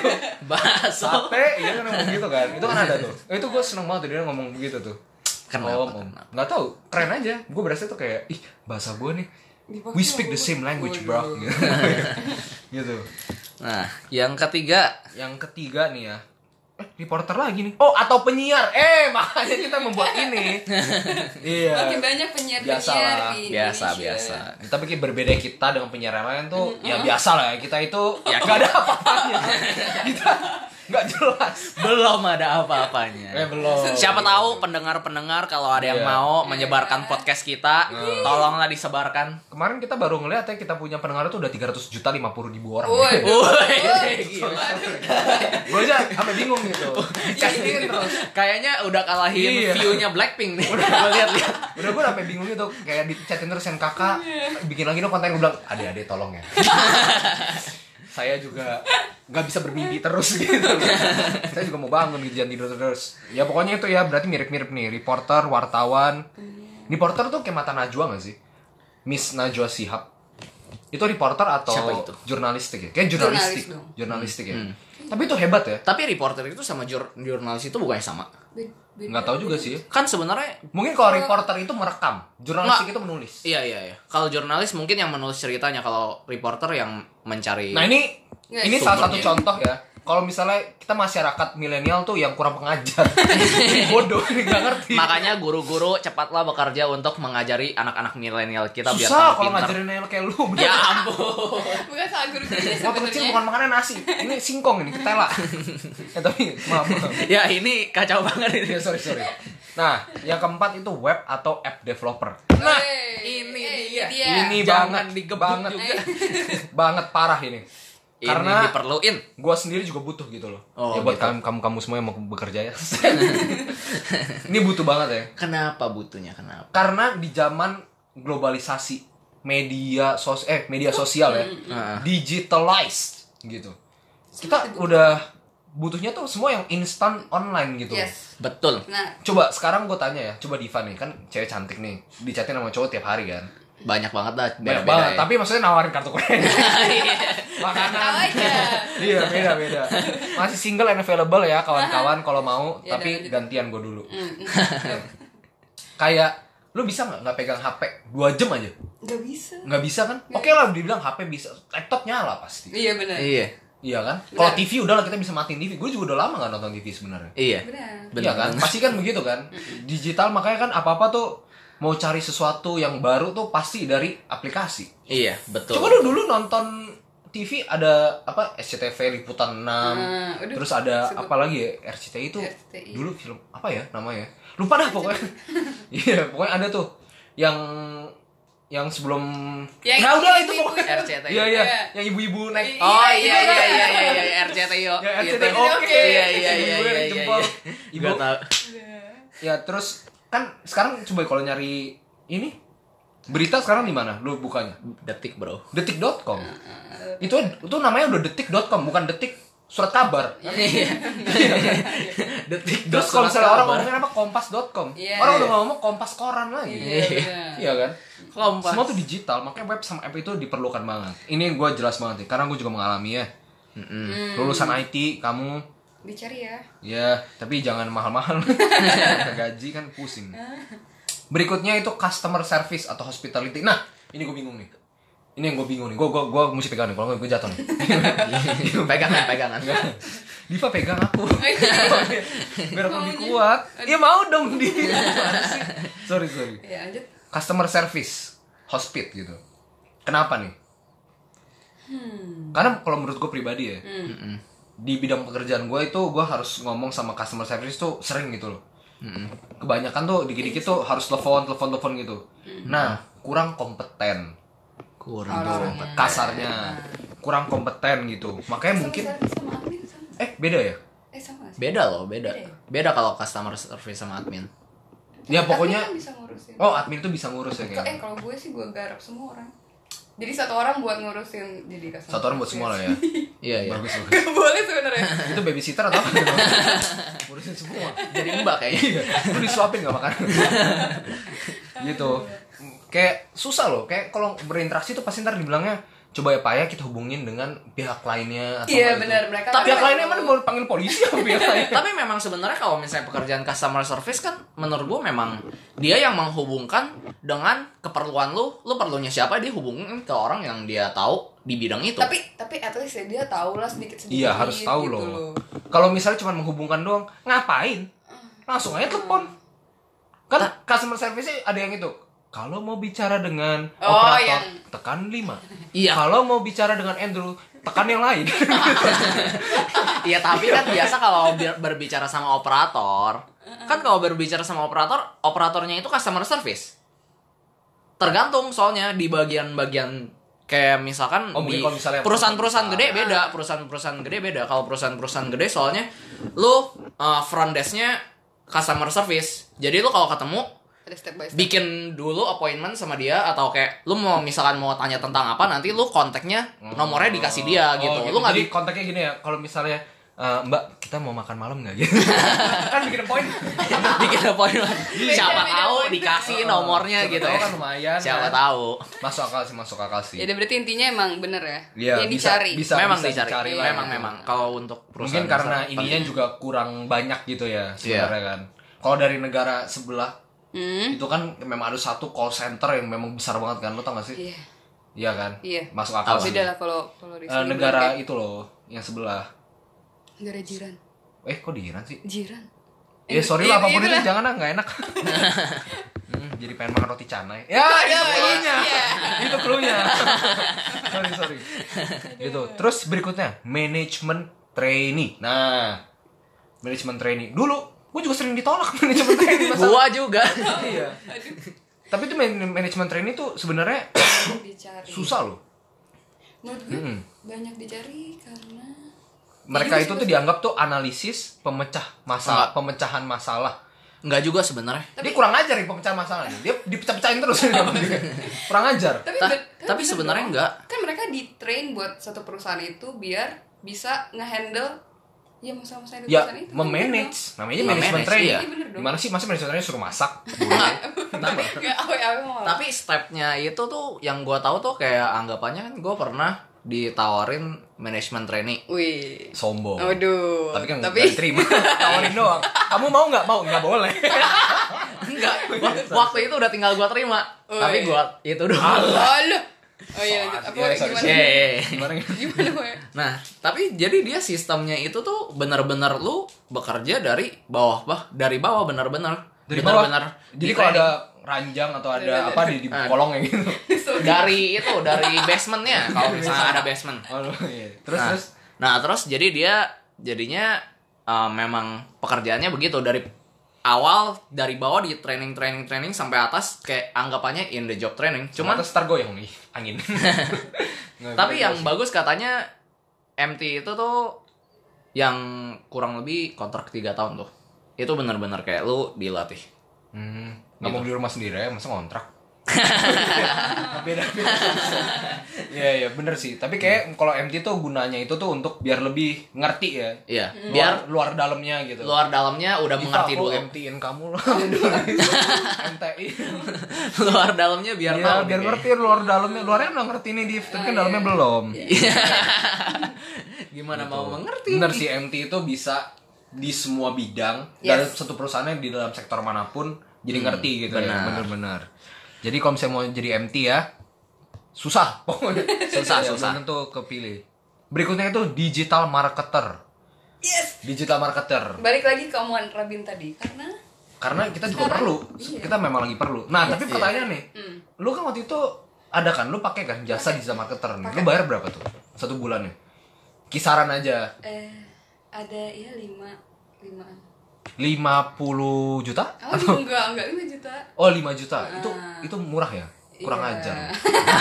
Speaker 1: Bakso.
Speaker 2: sate iya kan ngomong gitu kan itu kan ada tuh itu gue seneng banget tuh dia ngomong begitu tuh
Speaker 1: Kenapa,
Speaker 2: Oh, om. nggak tahu keren aja gue berasa tuh kayak ih bahasa gue nih we speak the same language bro gitu. gitu
Speaker 1: Nah, yang ketiga
Speaker 2: yang ketiga nih ya eh reporter lagi nih oh atau penyiar eh makanya kita membuat ini iya
Speaker 3: Makin banyak penyiar-penyiar
Speaker 2: biasa lah.
Speaker 3: di
Speaker 1: biasa
Speaker 3: Indonesia.
Speaker 1: biasa
Speaker 2: tapi kayak berbeda kita dengan penyiar yang lain tuh ya biasa lah ya kita itu ya
Speaker 1: Ya,
Speaker 2: gak ada apa-apanya kita nggak jelas
Speaker 1: belum ada apa-apanya
Speaker 2: eh belum
Speaker 1: Siapa tahu pendengar-pendengar kalau ada yang
Speaker 2: Iya. Nah.
Speaker 1: mau menyebarkan podcast kita, tolonglah disebarkan.
Speaker 2: kemarin kita baru ngeliat ya kita punya pendengar tuh udah 300 juta 50 ribu orang
Speaker 3: Woi.
Speaker 1: Woi, gila.
Speaker 2: gue aja sampai bingung gitu Dikasihin terus
Speaker 1: Kayaknya udah kalahin
Speaker 2: Iya.
Speaker 1: view-nya Blackpink nih. Gua lihat-lihat.
Speaker 2: udah gue sampai bingung gitu kayak di chatin terus yang kakak bikin lagi dong konten gue bilang ade ade tolong ya saya juga nggak bisa bermimpi terus gitu saya juga mau bangun gitu jangan tidur terus ya pokoknya itu ya berarti mirip mirip nih reporter wartawan reporter tuh kayak mata najwa nggak sih miss najwa sihab itu reporter atau
Speaker 1: Siapa itu? Hmm.
Speaker 2: jurnalistik ya kayak
Speaker 3: Jurnalis
Speaker 2: jurnalistik
Speaker 3: dong.
Speaker 2: jurnalistik ya tapi itu hebat ya
Speaker 1: Tapi reporter itu sama jur- jurnalis itu bukannya sama.
Speaker 3: Be- be-
Speaker 2: nggak tahu juga sih ya.
Speaker 1: Kan sebenarnya
Speaker 2: mungkin kalau reporter itu merekam jurnalistik itu menulis
Speaker 1: iya iya iya. Kalau jurnalis mungkin yang menulis ceritanya, kalau reporter yang mencari
Speaker 2: Nah ini
Speaker 3: Nggak,
Speaker 2: ini salah satu
Speaker 3: sumbernya.
Speaker 2: contoh ya. Kalau misalnya kita masyarakat milenial tuh yang kurang pengajar, bodoh, nggak ngerti.
Speaker 1: Makanya guru-guru cepatlah bekerja untuk mengajari anak-anak milenial kita biar tambah
Speaker 2: Susah kalau
Speaker 1: pintar.
Speaker 2: ngajarin yang kayak lu.
Speaker 1: Ya ampun.
Speaker 3: Bukan salah guru gurunya
Speaker 2: Waktu kecil
Speaker 3: sebenarnya.
Speaker 2: bukan makannya nasi, ini singkong ini ketela. ya tapi maaf. maaf.
Speaker 1: ya ini kacau banget ini.
Speaker 2: Ya, sorry sorry. Nah, yang keempat itu web atau app developer.
Speaker 1: Nah,
Speaker 3: Woi.
Speaker 1: ini
Speaker 3: Eh,
Speaker 1: dia.
Speaker 3: dia.
Speaker 2: Ini
Speaker 1: Ya, Jangan
Speaker 2: banget,
Speaker 1: digebuk
Speaker 2: banget,
Speaker 1: juga.
Speaker 2: banget parah ini.
Speaker 1: Karena
Speaker 2: Karena
Speaker 1: ini diperluin.
Speaker 2: gue sendiri juga butuh gitu loh.
Speaker 1: Oh,
Speaker 2: ya
Speaker 1: gitu.
Speaker 2: buat kamu kamu kamu semua yang mau bekerja ya. ini butuh banget ya.
Speaker 1: Kenapa butuhnya? Kenapa?
Speaker 2: karena di zaman globalisasi media sos eh media sosial ya
Speaker 3: Mm-hmm.
Speaker 1: Heeh.
Speaker 2: digitalized gitu kita udah butuhnya tuh semua yang instan online gitu
Speaker 3: Yes.
Speaker 1: Betul.
Speaker 3: Nah,
Speaker 2: coba sekarang gue tanya ya coba Diva nih kan cewek cantik nih dicatin sama cowok tiap hari kan
Speaker 1: Banyak banget dah
Speaker 2: banyak
Speaker 1: beda-beda
Speaker 2: banget
Speaker 1: ya.
Speaker 2: tapi maksudnya nawarin kartu kredit
Speaker 3: tahu
Speaker 2: makanan
Speaker 3: aja.
Speaker 2: iya beda beda masih single and available ya kawan-kawan kalau mau
Speaker 3: Ya, udah,
Speaker 2: tapi
Speaker 3: lanjut.
Speaker 2: gantian gue dulu
Speaker 3: Hmm, hmm.
Speaker 2: kayak lu bisa nggak nggak pegang HP dua jam aja
Speaker 3: Nggak bisa.
Speaker 2: nggak bisa kan oke lah dibilang HP bisa laptop nyala pasti
Speaker 3: Iya benar.
Speaker 1: Iya.
Speaker 2: iya kan
Speaker 3: Benar.
Speaker 2: kalau TV udahlah kita bisa matiin TV gue juga udah lama nggak nonton TV sebenarnya
Speaker 1: Iya.
Speaker 3: Benar.
Speaker 2: iya
Speaker 1: Benar
Speaker 2: kan pasti kan begitu kan digital makanya kan apa apa tuh mau cari sesuatu yang baru tuh pasti dari aplikasi
Speaker 1: Iya, betul.
Speaker 2: coba lu dulu nonton TV ada apa SCTV liputan 6
Speaker 3: Ah, aduh,
Speaker 2: Um, terus ada
Speaker 3: sebut.
Speaker 2: apa lagi ya RCTI itu
Speaker 3: RCTI.
Speaker 2: dulu film apa ya namanya lupa dah pokoknya iya pokoknya ada tuh yang yang sebelum
Speaker 3: Yang
Speaker 2: nah udah itu
Speaker 3: ibu-ibu.
Speaker 2: pokoknya
Speaker 1: RCTI.
Speaker 2: Iya iya,
Speaker 3: Iya.
Speaker 2: yang ibu-ibu naik.
Speaker 1: Oh
Speaker 3: Ya, Iya,
Speaker 1: iya
Speaker 3: iya,
Speaker 1: iya iya
Speaker 3: iya.
Speaker 1: iya iya RCTI oh,
Speaker 2: Ya,
Speaker 1: gitu.
Speaker 2: RCTI oke.
Speaker 1: Iya iya iya
Speaker 2: Ibu
Speaker 1: iya
Speaker 2: yang
Speaker 1: iya.
Speaker 2: jempol. Ibu.
Speaker 1: Gua tahu.
Speaker 2: Ya terus kan sekarang coba kalau nyari ini berita sekarang di mana? Lu bukanya?
Speaker 1: Detik, Bro.
Speaker 2: Detik.com. Itu itu namanya udah detik.com bukan detik surat kabar.
Speaker 1: Iya. Detik.
Speaker 2: Terus kalau misalnya orang ngomongin apa kompas.com.
Speaker 3: Iya.
Speaker 2: Orang udah
Speaker 1: Iya.
Speaker 2: ngomong kompas koran lagi.
Speaker 3: Iya benar.
Speaker 2: Iya kan?
Speaker 1: kompas.
Speaker 2: Semua tuh digital, makanya web sama app itu diperlukan banget. Ini gue jelas banget nih, karena gue juga mengalami ya. Lulusan IT, kamu
Speaker 3: Dicari ya.
Speaker 2: Ya, tapi jangan mahal-mahal. Gaji kan pusing. Berikutnya itu customer service atau hospitality. Nah, ini gue bingung nih. Ini yang gue bingung nih. Gue gue gue mesti pegang nih. Kalau nggak gue jatuh nih.
Speaker 1: pegangan, pegangan.
Speaker 2: Diva pegang aku. Biar aku lebih kuat. Ya mau dong di. Gimana sih? sorry sorry.
Speaker 3: Ya lanjut.
Speaker 2: Customer service, hospit gitu. Kenapa nih? Karena kalau menurut gue pribadi ya, di bidang pekerjaan gue itu gue harus ngomong sama customer service tuh sering gitu loh kebanyakan tuh dikit-dikit tuh harus telepon telepon telepon gitu nah kurang kompeten
Speaker 1: Kurang
Speaker 3: Orang.
Speaker 1: dong.
Speaker 2: kasarnya kurang kompeten gitu makanya mungkin
Speaker 3: Sama Sarah, sama admin sama.
Speaker 2: eh beda ya
Speaker 3: Eh sama. nggak sih?
Speaker 1: Beda loh, beda.
Speaker 2: Iya.
Speaker 3: Beda ya?
Speaker 1: Beda kalau customer service sama admin.
Speaker 2: ya
Speaker 3: Admin
Speaker 2: pokoknya
Speaker 3: kan bisa ngurusin.
Speaker 2: oh admin tuh bisa ngurus ya
Speaker 3: Ke- Eh
Speaker 2: kayaknya
Speaker 3: kalau gue sih gue garap semua orang. Jadi satu orang buat ngurusin jadi customer
Speaker 2: satu orang buat semua lah ya
Speaker 1: Iya iya.
Speaker 2: bagus bagus
Speaker 3: Gak boleh sebenarnya.
Speaker 2: itu babysitter atau apa ngurusin semua
Speaker 1: Jadi mbak kayaknya.
Speaker 2: Iya, lu disuapin gak makan gitu kayak susah loh kayak kalau berinteraksi tuh pasti ntar dibilangnya coba ya payah kita hubungin dengan pihak lainnya atau
Speaker 3: Iya,
Speaker 2: apa gitu.
Speaker 3: benar, mereka kan
Speaker 2: tapi pihak
Speaker 3: kayak-
Speaker 2: lainnya emang mau panggil polisi apa pihak lainnya
Speaker 1: tapi memang sebenarnya kalau misalnya pekerjaan customer service kan menurut gue memang dia yang menghubungkan dengan keperluan lu lu perlunya siapa dia hubungin ke orang yang dia tahu di bidang itu
Speaker 3: tapi tapi at least ya dia tahu lah sedikit gitu sedikit
Speaker 2: Gitu. iya harus tahu loh kalau misalnya cuma menghubungkan doang ngapain langsung aja telepon kan customer service ada yang itu kalau mau bicara dengan
Speaker 3: Oh,
Speaker 2: operator
Speaker 3: yang-
Speaker 2: tekan 5
Speaker 1: Iya.
Speaker 2: kalau mau bicara dengan Andrew tekan yang lain
Speaker 1: Iya tapi kan biasa kalau ber- berbicara sama operator Kan kalau berbicara sama operator Operatornya itu customer service Tergantung soalnya di bagian-bagian Kayak misalkan
Speaker 2: Oh, mungkin
Speaker 1: di
Speaker 2: kalau misalnya
Speaker 1: perusahaan-perusahaan
Speaker 2: perusahaan
Speaker 1: gede beda Perusahaan-perusahaan gede beda Kalau perusahaan-perusahaan gede soalnya Lu uh, front desk-nya customer service Jadi lu kalau ketemu
Speaker 3: ada step by step
Speaker 1: bikin dulu appointment sama dia atau kayak lu mau misalkan mau tanya tentang apa nanti lu kontaknya nomornya dikasih dia
Speaker 2: Oh,
Speaker 1: gitu lu nggak bi-
Speaker 2: jadi kontaknya gini ya kalau misalnya eh, Mbak kita mau makan malam nggak gitu kan bikin poin
Speaker 1: bikin appointment siapa
Speaker 3: Beda-beda
Speaker 1: tahu
Speaker 3: appointment.
Speaker 1: dikasih
Speaker 2: Heeh.
Speaker 1: nomornya
Speaker 2: Iya, Siapa
Speaker 1: gitu
Speaker 2: tahu
Speaker 1: ya
Speaker 2: kan lumayan,
Speaker 1: siapa
Speaker 2: kan.
Speaker 1: tahu
Speaker 2: masuk akal sih masuk akal sih
Speaker 3: ya udah, berarti intinya emang bener ya
Speaker 2: Iya,
Speaker 3: yang
Speaker 2: bisa-
Speaker 3: dicari
Speaker 2: bisa.
Speaker 1: memang
Speaker 2: bisa
Speaker 1: dicari,
Speaker 2: dicari lah
Speaker 1: memang
Speaker 2: gitu.
Speaker 1: memang kalau untuk perusahaan
Speaker 2: mungkin karena
Speaker 1: besar.
Speaker 2: ininya juga kurang banyak gitu ya sebenarnya kan kalau dari negara sebelah
Speaker 3: Hmm,
Speaker 2: itu kan memang ada satu call center yang memang besar banget kan lo tau gak sih
Speaker 3: iya
Speaker 2: iya kan
Speaker 3: Iya.
Speaker 2: masuk akal sih
Speaker 3: beda lah kalau kalau di
Speaker 2: Eh,
Speaker 3: sini
Speaker 2: negara
Speaker 3: bilang
Speaker 2: itu loh yang sebelah
Speaker 3: kayak, negara jiran
Speaker 2: eh kok di Iran sih
Speaker 3: jiran
Speaker 2: ya sorry lah apapun itu
Speaker 3: itulah.
Speaker 2: jangan lah nggak enak Hmm, jadi pengen makan roti canai ya itu cluenya
Speaker 3: Iya.
Speaker 2: itu cluenya sorry sorry gitu terus berikutnya manajemen trainee nah manajemen trainee dulu gue juga sering ditolak manajemen trainee masa
Speaker 1: gua juga
Speaker 2: iya tapi itu man- manajemen trainee tuh sebenarnya
Speaker 3: Banyak dicari
Speaker 2: susah loh
Speaker 3: menurut gue
Speaker 2: Hmm.
Speaker 3: banyak dicari karena Iya,
Speaker 2: mereka itu tuh dianggap tuh analisis pemecah masalah pemecahan masalah
Speaker 1: nggak juga sebenarnya
Speaker 2: dia kurang ajar nih pemecahan masalah dia dipecah-pecahin terus kurang ajar
Speaker 3: tapi
Speaker 1: Ta-
Speaker 3: ben-
Speaker 1: tapi
Speaker 3: bener
Speaker 1: sebenarnya
Speaker 3: dong.
Speaker 1: enggak.
Speaker 3: kan mereka di train buat satu perusahaan itu biar bisa ngehandle ya masalah-masalah di
Speaker 2: ya
Speaker 3: perusahaan itu kan bener
Speaker 2: memanage namanya
Speaker 1: Memanage,
Speaker 2: manajemen training
Speaker 1: iya.
Speaker 2: ya
Speaker 3: Iya, bener dong.
Speaker 2: gimana sih masa manajemen training suruh masak
Speaker 3: dong. nggak awe awe malah
Speaker 1: tapi stepnya itu tuh yang gua tahu tuh kayak anggapannya kan gua pernah ditawarin manajemen trainee
Speaker 3: wih
Speaker 2: sombong
Speaker 3: Waduh.
Speaker 2: Oh. tapi kan
Speaker 3: Oh, tapi
Speaker 2: nggak diterima tawarin doang kamu mau nggak mau nggak boleh
Speaker 1: enggak waktu itu udah tinggal gua terima
Speaker 2: Oh,
Speaker 3: Ui.
Speaker 1: tapi gua itu
Speaker 2: Ah,
Speaker 1: doang
Speaker 3: Alah. Oh iya lanjut. Apa
Speaker 2: Iya, sorry,
Speaker 3: gimana?
Speaker 1: Iya, iya, iya.
Speaker 2: gimana
Speaker 3: Gimana gue?
Speaker 1: Nah, tapi jadi dia sistemnya itu tuh bener-bener lu bekerja dari bawah, bah, dari bawah bener-bener.
Speaker 2: dari bawah
Speaker 1: Bener-bener di
Speaker 2: jadi
Speaker 1: Iya,
Speaker 2: kalau
Speaker 1: training. Ah.
Speaker 2: ada ranjang atau ada apa di, di kolongnya gitu
Speaker 1: dari itu dari basementnya kalau misalnya ada basement.
Speaker 2: Waduh, iya. terus
Speaker 1: Nah,
Speaker 2: terus
Speaker 1: nah, terus jadi dia jadinya uh, memang pekerjaannya begitu dari awal dari bawah di training training training sampai atas kayak anggapannya in the job training. Cuman
Speaker 2: terus ntar goyang nih angin Nggak,
Speaker 1: Tapi
Speaker 2: gitu
Speaker 1: yang
Speaker 2: sih.
Speaker 1: bagus katanya MT itu tuh yang kurang lebih kontrak 3 tahun tuh. Itu bener-bener kayak lu dilatih.
Speaker 2: Hmm, nggak mau beli rumah sendiri ya, masa ngontrak? beda Iya iya bener sih. Tapi kayak kalau MT tuh gunanya itu tuh untuk biar lebih ngerti ya.
Speaker 1: Iya, biar
Speaker 2: Biar luar dalamnya gitu.
Speaker 1: luar dalamnya udah
Speaker 2: Diva,
Speaker 1: mengerti
Speaker 2: aku
Speaker 1: dulu.
Speaker 2: MT-in kamu loh. gitu. MTI.
Speaker 1: luar dalamnya biar
Speaker 2: Iya,
Speaker 1: tahu nih
Speaker 2: biar
Speaker 1: kayaknya.
Speaker 2: ngerti luar dalamnya. Luarnya udah ngerti nih Div, tapi kan dalamnya belum.
Speaker 1: Gimana mau mengerti?
Speaker 2: Gitu. Bener sih MT itu bisa di semua bidang dari satu perusahaan yang di dalam sektor manapun jadi ngerti gitu ya. Bener-bener. Jadi kalau misalnya mau jadi MT ya susah pokoknya.
Speaker 1: Susah,
Speaker 2: Ya,
Speaker 1: susah.
Speaker 2: Belum tentu kepilih. Berikutnya itu digital marketer.
Speaker 3: Yes.
Speaker 2: Digital marketer.
Speaker 3: Balik lagi ke omongan Rabin tadi karena
Speaker 2: Karena kita juga perlu. Kita memang lagi perlu. Nah, tapi pertanyaan nih. Lu kan waktu itu ada kan lu pakai kan jasa digital marketer nih. Lu bayar berapa tuh? Satu bulannya. Kisaran aja.
Speaker 3: eh ada ya 5 limaan.
Speaker 2: 50 juta?
Speaker 3: Oh enggak, enggak 5 juta.
Speaker 2: Oh 5 juta itu itu murah ya kurang
Speaker 3: Ah. Iya.
Speaker 2: ajar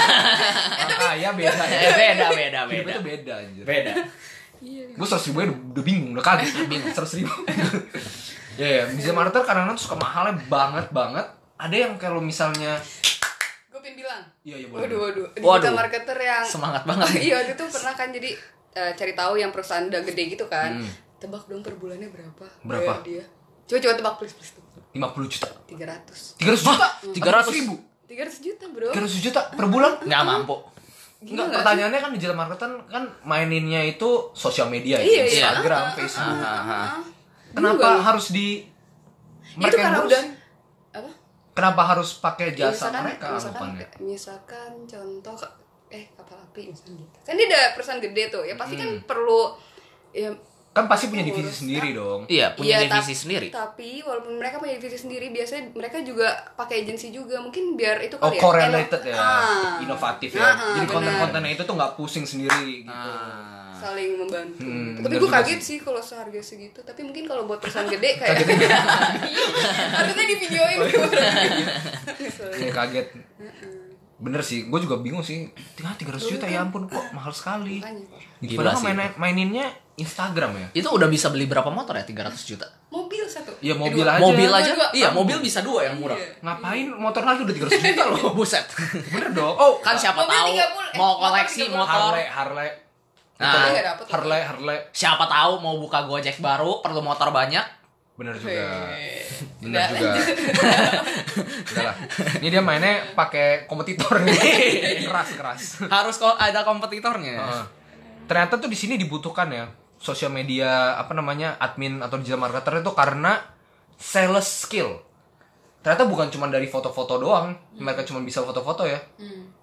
Speaker 2: orang kaya beda ya
Speaker 1: Eh, beda, beda,
Speaker 2: Hidupnya
Speaker 1: beda.
Speaker 2: tuh beda anjir
Speaker 1: Beda.
Speaker 3: Iya.
Speaker 2: gue seratus ribu aja udah, udah bingung udah kaget bingung seratus ribu ya ya bisa marketer kadang-kadang tuh suka mahalnya banget banget ada yang kalau misalnya
Speaker 3: Gue pin bilang.
Speaker 2: Iya, iya, boleh.
Speaker 3: Waduh, waduh.
Speaker 1: Waduh.
Speaker 3: Digital marketer yang
Speaker 1: Semangat banget nih.
Speaker 3: Iya, waktu itu pernah kan jadi eh, cari tahu yang perusahaan udah gede gitu kan. Tebak dong per bulannya berapa? Bayar
Speaker 2: Berapa?
Speaker 3: dia. Coba coba tebak please please. tebak.
Speaker 2: 50 juta
Speaker 3: 300.
Speaker 2: 300 juta
Speaker 1: 300
Speaker 2: ribu
Speaker 3: 300 juta, Bro.
Speaker 2: 300 juta per bulan
Speaker 1: Nggak mampu.
Speaker 3: Gila
Speaker 2: Enggak,
Speaker 3: nggak sih?
Speaker 2: pertanyaannya kan digital marketer kan maininnya itu sosial media
Speaker 3: Iya,
Speaker 2: ya,
Speaker 3: iya.
Speaker 2: Instagram,
Speaker 3: Ah, ah,
Speaker 2: Facebook.
Speaker 1: ah, ah, ah.
Speaker 2: Kenapa
Speaker 3: Google.
Speaker 2: harus di
Speaker 3: itu
Speaker 2: mereka yang
Speaker 3: karena
Speaker 2: ngurus?
Speaker 3: udah apa
Speaker 2: Kenapa harus pakai
Speaker 3: Ya,
Speaker 2: jasa
Speaker 3: misalkan,
Speaker 2: mereka ya.
Speaker 3: misalkan,
Speaker 2: rupanya?
Speaker 3: misalkan contoh ka- eh kapal api misalnya gitu kan dia ada perusahaan gede tuh ya pasti kan
Speaker 2: Hmm.
Speaker 3: perlu ya
Speaker 2: Kan pasti punya divisi
Speaker 3: Ngurus,
Speaker 2: sendiri dong.
Speaker 1: Iya, punya
Speaker 3: Iya,
Speaker 1: divisi
Speaker 3: tap-
Speaker 1: sendiri.
Speaker 3: tapi walaupun mereka punya divisi sendiri biasanya mereka juga pakai agensi juga mungkin biar itu
Speaker 2: Oh,
Speaker 3: kali
Speaker 2: correlated
Speaker 3: ino-
Speaker 2: ya,
Speaker 3: Iya, Ah.
Speaker 2: inovatif
Speaker 3: Ah,
Speaker 2: ya.
Speaker 3: ah,
Speaker 2: Jadi
Speaker 3: benar.
Speaker 2: konten-kontennya itu tuh nggak pusing sendiri gitu.
Speaker 1: Ah.
Speaker 3: saling membantu
Speaker 2: Hmm,
Speaker 3: tapi
Speaker 2: bener
Speaker 3: gue
Speaker 2: juga
Speaker 3: kaget sih kalau seharga segitu tapi mungkin kalau buat perusahaan gede kayak Iya, harusnya di videoin
Speaker 2: Kayak kaget. Bener sih, gue juga bingung sih. Tinggal 300 juta
Speaker 3: Iya kan?
Speaker 2: ya ampun kok mahal sekali. Gitu
Speaker 1: Gila
Speaker 2: Padahal
Speaker 1: sih.
Speaker 2: main- maininnya Instagram ya.
Speaker 1: Itu udah bisa beli berapa motor ya 300 juta?
Speaker 3: mobil satu
Speaker 2: Iya mobil
Speaker 3: Kedua.
Speaker 2: aja.
Speaker 1: Mobil aja.
Speaker 3: dua.
Speaker 1: Iya, mobil bisa dua yang murah. Iya,
Speaker 3: Iya.
Speaker 2: Ngapain motor lagi udah 300 juta loh.
Speaker 1: Buset.
Speaker 2: Bener dong. Oh,
Speaker 1: Kan siapa
Speaker 3: Mobil
Speaker 1: tahu
Speaker 3: 30, eh,
Speaker 1: mau
Speaker 3: motor
Speaker 1: koleksi
Speaker 3: 30.
Speaker 1: motor.
Speaker 2: Harley, Harley.
Speaker 1: Nah.
Speaker 2: Betul.
Speaker 3: Iya, dapet.
Speaker 2: Harley, Harley.
Speaker 1: Siapa tahu mau buka Gojek baru perlu motor banyak.
Speaker 2: Bener juga.
Speaker 3: Hei.
Speaker 2: Bener
Speaker 3: Udah.
Speaker 2: juga. Udah lah. Ini dia mainnya pakai kompetitor nih. keras, keras.
Speaker 1: Harus kok ada kompetitornya.
Speaker 2: Heeh. Ternyata tuh di sini dibutuhkan ya sosial media apa namanya admin atau digital marketer itu karena sales skill. Ternyata bukan cuma dari foto-foto doang, mereka cuma bisa foto-foto ya.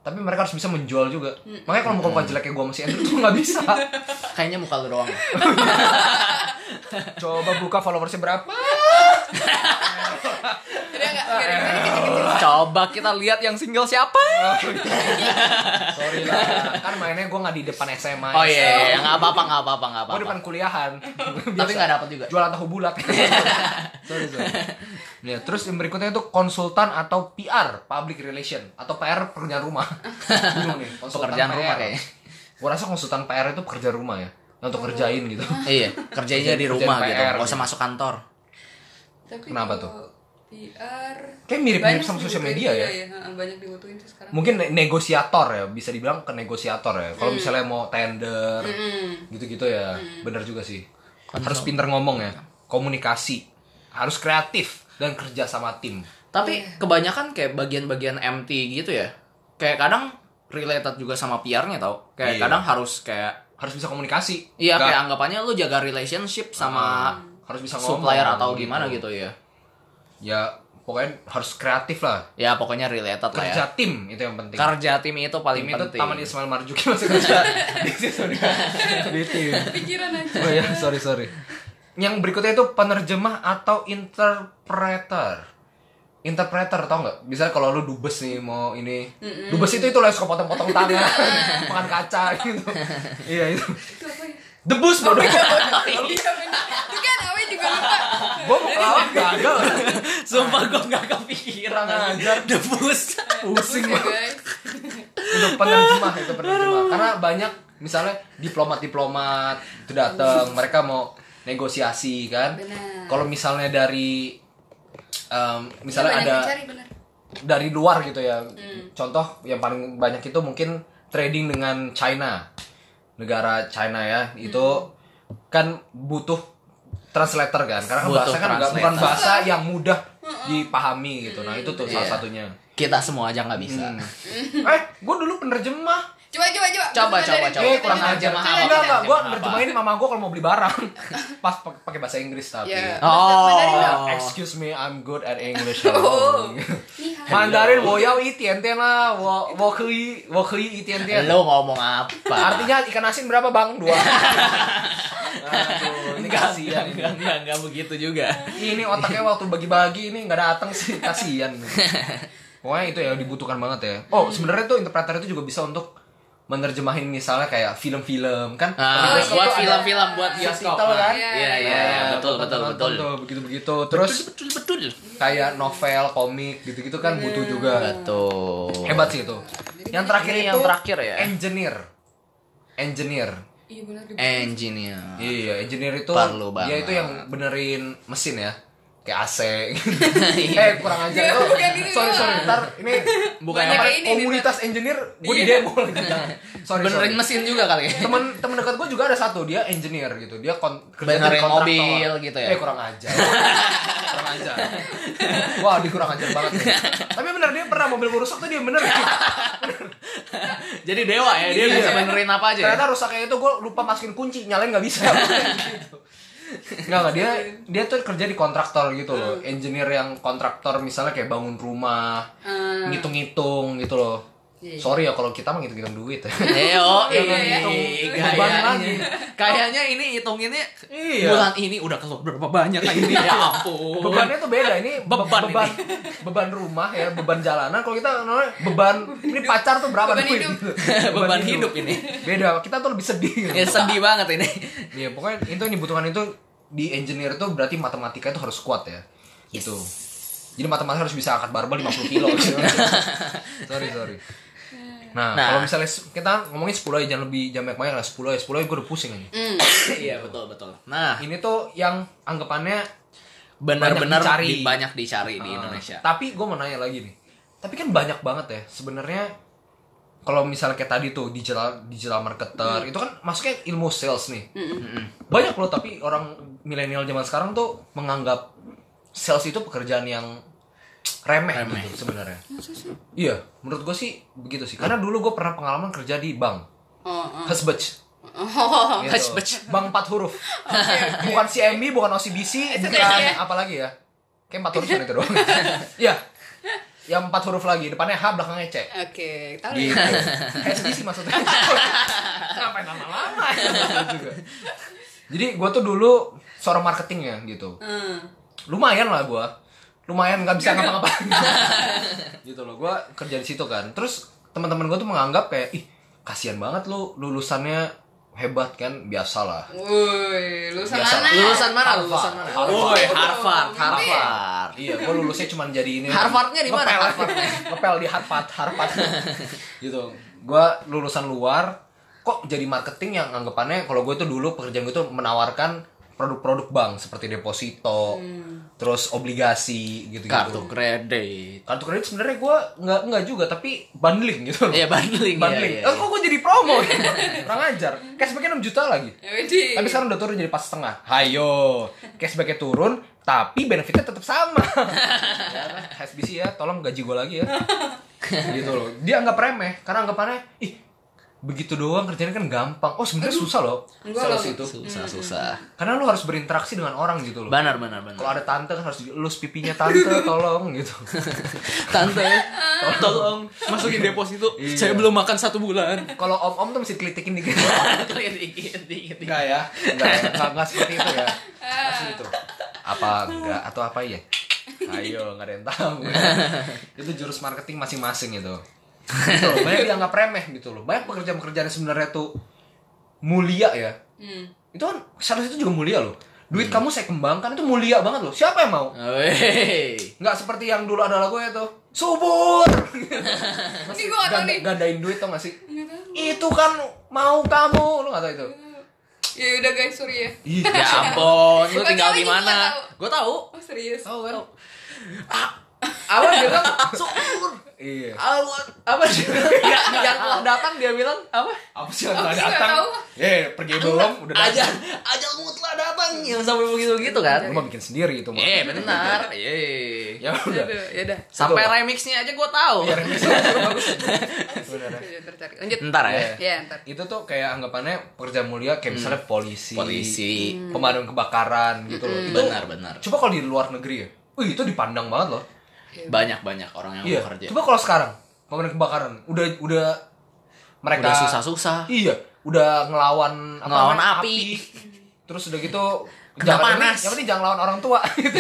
Speaker 2: Tapi mereka harus bisa menjual juga. Makanya kalau muka-muka jeleknya gue masih Andrew tuh nggak bisa.
Speaker 1: Kayaknya muka lu doang.
Speaker 2: Coba buka followersnya berapa?
Speaker 3: Udah nggak
Speaker 2: Ah.
Speaker 3: gara-gara
Speaker 1: Coba kita lihat yang single siapa.
Speaker 2: Sorry lah, kan mainnya gue nggak di depan SMA.
Speaker 1: Oh iya, iya, nggak apa-apa, nggak apa-apa, nggak apa-apa.
Speaker 2: Gue Oh, depan kuliahan.
Speaker 1: Tapi nggak dapat juga.
Speaker 2: Jualan tahu bulat. sorry, sorry. Ya, terus yang berikutnya itu konsultan atau PR, public relation atau PR pekerjaan rumah. Bingung nih, konsultan
Speaker 1: Pekerjaan
Speaker 2: PR.
Speaker 1: rumah kayaknya. Oh.
Speaker 2: Gua rasa konsultan PR itu pekerja rumah ya, untuk kerjain gitu.
Speaker 1: Iya, kerjanya di
Speaker 2: Kerjain
Speaker 1: rumah
Speaker 2: PR
Speaker 1: gitu. Gak usah
Speaker 2: gitu.
Speaker 1: masuk kantor.
Speaker 3: Tapi
Speaker 2: Kenapa
Speaker 3: kalau PR
Speaker 2: Kayak mirip-mirip
Speaker 3: banyak
Speaker 2: sama
Speaker 3: sih
Speaker 2: sosial
Speaker 3: dibutuhin,
Speaker 1: gitu.
Speaker 2: media ya.
Speaker 3: Iya, ha, banyak dibutuhin sih sekarang.
Speaker 2: Mungkin ne- negosiator ya, bisa dibilang ke negosiator ya.
Speaker 1: Hmm.
Speaker 2: Kalau misalnya mau tender, gitu-gitu ya, bener juga sih. Harus pinter ngomong ya, komunikasi, harus kreatif dan kerja sama tim.
Speaker 1: Tapi kebanyakan kayak bagian-bagian MT gitu ya. Kayak kadang related juga sama PR-nya tau. Kayak
Speaker 2: Iya.
Speaker 1: kadang harus kayak
Speaker 2: Harus bisa komunikasi.
Speaker 1: Iya,
Speaker 2: Nggak-
Speaker 1: kayak anggapannya lu jaga relationship
Speaker 2: Ah.
Speaker 1: sama
Speaker 2: harus bisa ngomong
Speaker 1: supplier atau gimana gitu ya.
Speaker 2: ya pokoknya harus kreatif lah
Speaker 1: Ya pokoknya related lah ya.
Speaker 2: kerja tim itu yang penting
Speaker 1: Kerja tim itu paling
Speaker 2: tim itu
Speaker 1: penting.
Speaker 2: taman Ismail Marzuki masih kerja di situ dia. di tim
Speaker 3: Pikiran aja.
Speaker 2: oh ya sorry sorry yang berikutnya itu penerjemah atau interpreter interpreter tau nggak bisa kalau lu dubes nih mau ini dubes itu itu loh yang suka potong-potong tangan makan kaca gitu iya itu
Speaker 3: Itu apa ya?
Speaker 2: debus bro
Speaker 3: Iya, bener. Itu kan awe juga lupa.
Speaker 2: gue mau lawan gagal
Speaker 1: Sumpah gue gak kepikiran
Speaker 2: Kurang
Speaker 1: aja. Debus.
Speaker 2: pusing
Speaker 3: Ya,
Speaker 2: banget
Speaker 3: guys.
Speaker 2: untuk penerjemah itu penerjemah karena banyak misalnya diplomat diplomat itu datang mereka mau negosiasi kan
Speaker 3: Iya. Benar.
Speaker 2: kalau misalnya dari em,
Speaker 3: Kita
Speaker 2: misalnya
Speaker 3: Iya, banyak Hmm.
Speaker 2: ada
Speaker 3: yang cari bener.
Speaker 2: dari luar gitu ya contoh yang paling banyak itu mungkin trading dengan China negara China ya itu
Speaker 3: Hmm.
Speaker 2: kan butuh translator kan karena kan
Speaker 1: Butuh
Speaker 2: bahasa kan nggak- bukan
Speaker 1: translator.
Speaker 2: bahasa yang mudah
Speaker 3: Hmm.
Speaker 2: dipahami gitu nah itu tuh salah
Speaker 1: Iya.
Speaker 2: satunya
Speaker 1: Kita semua aja nggak bisa.
Speaker 2: eh gue dulu penerjemah
Speaker 3: Coba coba coba.
Speaker 1: Coba,
Speaker 3: Coba,
Speaker 1: coba,
Speaker 3: dari-
Speaker 1: coba.
Speaker 2: Eh, kurang
Speaker 1: Kita
Speaker 2: ajar.
Speaker 1: nerjemah apa?
Speaker 2: Enggak, enggak.
Speaker 1: Kita
Speaker 2: Gue
Speaker 1: nerjemah apa?
Speaker 2: nerjemahin mama gue kalau mau beli barang. Pas pak- pakai bahasa Inggris tapi.
Speaker 3: Ya.
Speaker 1: Oh.
Speaker 2: Ya, excuse me, I'm good at English. ya
Speaker 3: Oh. Nih, ha.
Speaker 2: Mandarin wo yao yi tian tian lah, wo wo kui wo kui yi tian tian.
Speaker 1: Lo ngomong apa?
Speaker 2: Artinya ikan asin berapa bang? Dua. Aduh, ini
Speaker 1: Enggak,
Speaker 2: kasihan
Speaker 1: enggak,
Speaker 2: ini.
Speaker 1: enggak, enggak begitu juga.
Speaker 2: Ini otaknya waktu bagi-bagi ini nggak datang sih, kasihan. Pokoknya itu ya dibutuhkan banget ya. Oh, sebenarnya tuh interpreter itu juga bisa untuk menerjemahin misalnya kayak film-film kan
Speaker 1: Ah,
Speaker 3: Oh,
Speaker 1: buat
Speaker 3: iya,
Speaker 2: Terus itu ada-
Speaker 1: film-film, buat bioskop.
Speaker 2: subtitle kan?
Speaker 1: Iya, iya, iya, betul, betul, betul.
Speaker 2: begitu begitu terus
Speaker 1: Betul, betul.
Speaker 2: kayak novel komik gitu gitu kan butuh juga
Speaker 1: Betul.
Speaker 2: hebat sih itu yang terakhir
Speaker 1: Ini
Speaker 2: itu
Speaker 1: yang terakhir ya?
Speaker 2: engineer engineer
Speaker 3: Iya bener.
Speaker 1: Engineer.
Speaker 2: iya engineer itu
Speaker 1: Perlu
Speaker 2: dia
Speaker 1: banget.
Speaker 2: itu yang benerin mesin ya kayak AC
Speaker 1: Iya.
Speaker 2: eh kurang ajar tuh
Speaker 3: bukan ini
Speaker 2: sorry sorry ntar ini
Speaker 1: Bukan yang
Speaker 2: apa,
Speaker 3: ini, Iya.
Speaker 2: komunitas engineer gue di demo lagi Jangan. sorry sorry
Speaker 1: Benerin mesin juga kali ya.
Speaker 2: temen temen dekat gue juga ada satu dia engineer gitu dia kon kerja
Speaker 1: Benerin
Speaker 2: jadi kontraktor.
Speaker 1: mobil gitu ya?
Speaker 2: eh kurang aja kurang ajar wah dia kurang ajar banget ya. tapi bener dia pernah mobil gue rusak tuh dia bener
Speaker 1: Jadi dewa ya, dia
Speaker 2: Iya.
Speaker 1: bisa benerin apa aja. Ya?
Speaker 2: ternyata rusaknya itu gue lupa masukin kunci nyalain nggak bisa Gitu. Nggak, nggak dia dia tuh kerja di kontraktor gitu loh engineer yang kontraktor misalnya kayak bangun rumah
Speaker 3: Hmm.
Speaker 2: ngitung-ngitung gitu loh
Speaker 3: Iya.
Speaker 2: sorry ya kalau kita mah ngitung-ngitung duit
Speaker 1: Eo,
Speaker 3: Iya, iya, iya.
Speaker 2: Beban lagi.
Speaker 1: kayaknya ini hitunginnya
Speaker 2: Iya.
Speaker 1: bulan ini udah keluar berapa banyak lah ini ya ampun.
Speaker 2: bebannya tuh beda ini be-
Speaker 1: Beban
Speaker 2: beban, beban rumah ya beban jalanan kalau kita namanya beban ini pacar tuh berapa
Speaker 3: Beban
Speaker 2: duit
Speaker 3: hidup.
Speaker 2: gitu.
Speaker 1: Beban hidup ini.
Speaker 2: beda kita tuh lebih sedih gitu.
Speaker 1: Ya sedih banget ini.
Speaker 2: Iya pokoknya itu yang dibutuhkan itu di engineer itu berarti matematika itu harus kuat ya. Gitu. Jadi matematika harus bisa angkat barbel 50 kilo. gitu. sorry sorry. Nah,
Speaker 1: Nah.
Speaker 2: kalau misalnya se- kita ngomongin 10 aja jangan lebih jam banyak lah 10 aja 10 aja gue udah pusing aja.
Speaker 1: Iya betul betul. Nah
Speaker 2: Ini tuh yang anggapannya
Speaker 1: benar-benar
Speaker 2: Banyak dicari.
Speaker 1: di- banyak dicari di
Speaker 2: Ah,
Speaker 1: Indonesia.
Speaker 2: Tapi gue mau nanya lagi nih. Tapi kan banyak banget ya sebenarnya kalau misalnya kayak tadi tuh digital digital
Speaker 1: Hmm.
Speaker 2: marketer itu kan masuknya ilmu sales nih. Banyak loh tapi orang milenial zaman sekarang tuh menganggap sales itu pekerjaan yang remeh, gitu sebenarnya. Iya, menurut gue sih begitu sih. Karena dulu gue pernah pengalaman kerja di bank.
Speaker 3: Oh,
Speaker 1: Hmm.
Speaker 3: oh.
Speaker 2: Hesbech.
Speaker 3: Oh,
Speaker 2: Gitu.
Speaker 1: Hesbech.
Speaker 2: Bank empat huruf.
Speaker 3: oke.
Speaker 2: Bukan CMB, bukan OCBC,
Speaker 3: Itu
Speaker 2: bukan
Speaker 3: dia.
Speaker 2: apalagi ya. Kayak empat huruf kan itu doang. Iya. Yang empat huruf lagi, depannya H, belakangnya C.
Speaker 3: Oke, tahu
Speaker 2: Gitu.
Speaker 3: ya.
Speaker 2: HSBC maksudnya. Ngapain lama-lama ya. juga. Jadi gue tuh dulu seorang marketing ya gitu.
Speaker 3: Hmm.
Speaker 2: Lumayan lah gue. Lumayan nggak bisa ngapa-ngapain. gitu loh, gue kerja di situ kan. Terus teman-teman gue tuh menganggap kayak, ih kasihan banget lu lulusannya hebat kan, biasalah.
Speaker 3: Woi, lulusan
Speaker 2: Biasa.
Speaker 3: mana?
Speaker 1: Lulusan mana?
Speaker 2: Harvard.
Speaker 1: Lulusan mana?
Speaker 2: Harvard.
Speaker 1: Woi, Harvard,
Speaker 3: Nanti.
Speaker 1: Harvard.
Speaker 2: Iya, gue lulusnya cuma jadi ini.
Speaker 1: Harvardnya di mana?
Speaker 2: Ngepel.
Speaker 1: Harvard.
Speaker 2: Ngepel di Harvard, Harvard. gitu. Gue lulusan luar, kok jadi marketing yang anggapannya kalau gue tuh dulu pekerjaan gue tuh menawarkan produk-produk bank seperti deposito, terus obligasi gitu-gitu.
Speaker 1: Hmm. Kartu kredit.
Speaker 2: Kartu kredit sebenarnya gue nggak nggak juga tapi bundling gitu loh.
Speaker 1: Iya bundling, ya,
Speaker 2: bundling.
Speaker 1: ya.
Speaker 2: Eh, kok gue jadi promo? Kurang ajar. Cashbacknya 6 juta lagi.
Speaker 3: Ya, Wedi.
Speaker 2: Tapi sekarang udah turun jadi pas setengah. Hayo, cashbacknya turun, tapi benefitnya tetap sama. ya, kan? HSBC ya, tolong gaji gue lagi ya. gitu loh. Dia anggap remeh, karena anggapannya, ih, begitu doang kerjanya kan gampang. Oh sebenarnya susah loh
Speaker 3: enggak
Speaker 2: sales
Speaker 3: loh.
Speaker 2: itu.
Speaker 1: Susah susah.
Speaker 2: Karena lu harus berinteraksi dengan orang gitu loh.
Speaker 1: Benar benar benar.
Speaker 2: Kalau ada tante kan harus dielus pipinya tante, tolong gitu.
Speaker 1: Tante, Iya. tolong masukin deposito. Saya belum makan satu bulan.
Speaker 2: Kalau om-om tuh mesti kelitikin dikit.
Speaker 1: Kalian dikit, dikit, dikit.
Speaker 2: Enggak ya, enggak ya, enggak, enggak seperti itu ya. Enggak seperti itu. Apa enggak atau apa ya? Ayo, enggak ada yang tahu. ya. itu jurus marketing masing-masing itu. Gitu loh, banyak yang nggak remeh gitu loh. Banyak pekerjaan-pekerjaan yang sebenarnya tuh mulia ya.
Speaker 3: Hmm.
Speaker 2: Itu kan sales itu juga mulia loh. Duit kamu saya kembangkan itu mulia banget loh. Siapa yang mau?
Speaker 1: Wey.
Speaker 2: Nggak seperti yang dulu ada lagu itu. Subur.
Speaker 3: Ini gua nggak tahu nih.
Speaker 2: gandain duit tau gak sih?
Speaker 3: Nggak tahu.
Speaker 2: Itu kan mau kamu. Lu gak tau itu? Iya,
Speaker 3: Ya udah guys, sorry ya.
Speaker 2: Ih,
Speaker 1: Ya ampun, lu
Speaker 3: Gua
Speaker 1: tinggal
Speaker 3: tahu
Speaker 1: di
Speaker 3: ini, gua
Speaker 1: mana?
Speaker 3: tahu.
Speaker 1: Gue tahu.
Speaker 3: Oh, serius.
Speaker 2: Tahu kan?
Speaker 1: Apa dia bilang? Syukur.
Speaker 2: Iya.
Speaker 1: Apa- Apa dia bilang? Yang, yang telah datang dia bilang apa?
Speaker 2: Apa sih yang
Speaker 3: Apa
Speaker 2: nggak
Speaker 3: sih nggak
Speaker 2: datang?
Speaker 3: tahu?
Speaker 2: Eh, pergi belum udah
Speaker 1: Aja,
Speaker 2: datang. Iya,
Speaker 1: ajalmu telah datang. Yang sampai begitu gitu kan?
Speaker 2: Lu mah bikin sendiri itu mah.
Speaker 1: Eh benar. Yeay.
Speaker 2: Ya udah. Iya,
Speaker 3: Aduh, ya udah.
Speaker 1: Sampai
Speaker 2: Betul.
Speaker 1: remixnya aja gue tahu.
Speaker 2: Biar ini seru, bagus. Bener ya.
Speaker 3: Tertarik. Lanjut.
Speaker 1: Ntar Hmm. ya.
Speaker 2: Iya.
Speaker 3: Ya, ntar.
Speaker 2: Itu tuh kayak anggapannya pekerja mulia kayak misalnya polisi,
Speaker 1: Polisi.
Speaker 2: pemadam kebakaran gitu loh. Itu
Speaker 1: Benar, benar.
Speaker 2: Coba kalau di luar negeri ya. Wih, itu dipandang banget loh.
Speaker 1: Banyak banyak orang yang
Speaker 2: Iya.
Speaker 1: bekerja.
Speaker 2: Coba kalau sekarang pemadam kebakaran udah udah mereka
Speaker 1: Udah susah-susah.
Speaker 2: Iya, udah ngelawan apa
Speaker 1: Ngelawan
Speaker 2: namanya,
Speaker 1: api.
Speaker 2: Terus udah gitu
Speaker 1: Kena
Speaker 2: jangan
Speaker 1: panas.
Speaker 2: Yang penting jangan lawan orang tua gitu.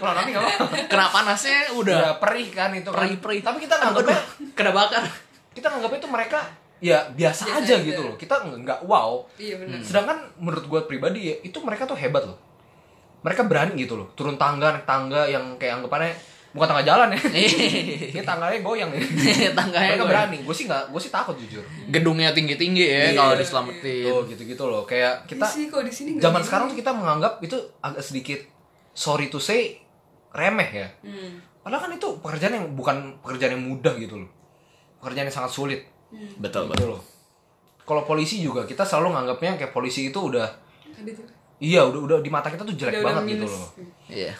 Speaker 2: Lawan api enggak apa-apa.
Speaker 1: Kena panasnya
Speaker 2: Udah
Speaker 1: udah.
Speaker 2: perih kan itu kan.
Speaker 1: Perih-perih.
Speaker 2: Tapi kita nganggapnya
Speaker 1: Kena bakar.
Speaker 2: kita nganggapnya itu mereka ya biasa,
Speaker 3: Biasa
Speaker 2: aja
Speaker 3: aja.
Speaker 2: gitu loh. Kita nggak wow.
Speaker 3: Iya benar.
Speaker 2: Sedangkan menurut gue pribadi ya, itu mereka tuh hebat loh. Mereka berani gitu loh. Turun tangga, naik tangga yang kayak anggapannya bukan tangga jalan ya. Ini tangganya goyang ya.
Speaker 1: Iya. Tangganya
Speaker 2: mereka
Speaker 1: goyang.
Speaker 2: berani. Gue sih nggak, gue sih takut jujur.
Speaker 1: Gedungnya tinggi-tinggi ya
Speaker 2: Iya.
Speaker 1: kalau diselamatin.
Speaker 2: Tuh gitu-gitu loh. Kayak kita
Speaker 3: Di sini kok di sini nggak
Speaker 2: zaman
Speaker 3: gini.
Speaker 2: sekarang tuh kita menganggap itu agak sedikit sorry to say remeh ya.
Speaker 3: Hmm.
Speaker 2: Padahal kan itu pekerjaan yang bukan pekerjaan yang mudah gitu loh. Pekerjaan yang sangat sulit
Speaker 1: Betul,
Speaker 2: gitu
Speaker 1: betul.
Speaker 2: loh. Kalau polisi juga kita selalu nganggapnya kayak polisi itu udah
Speaker 3: Ada juga.
Speaker 2: iya udah udah di mata kita tuh
Speaker 3: Udah-
Speaker 2: jelek
Speaker 3: udah
Speaker 2: banget gitu
Speaker 3: minus.
Speaker 2: loh.
Speaker 1: Iya.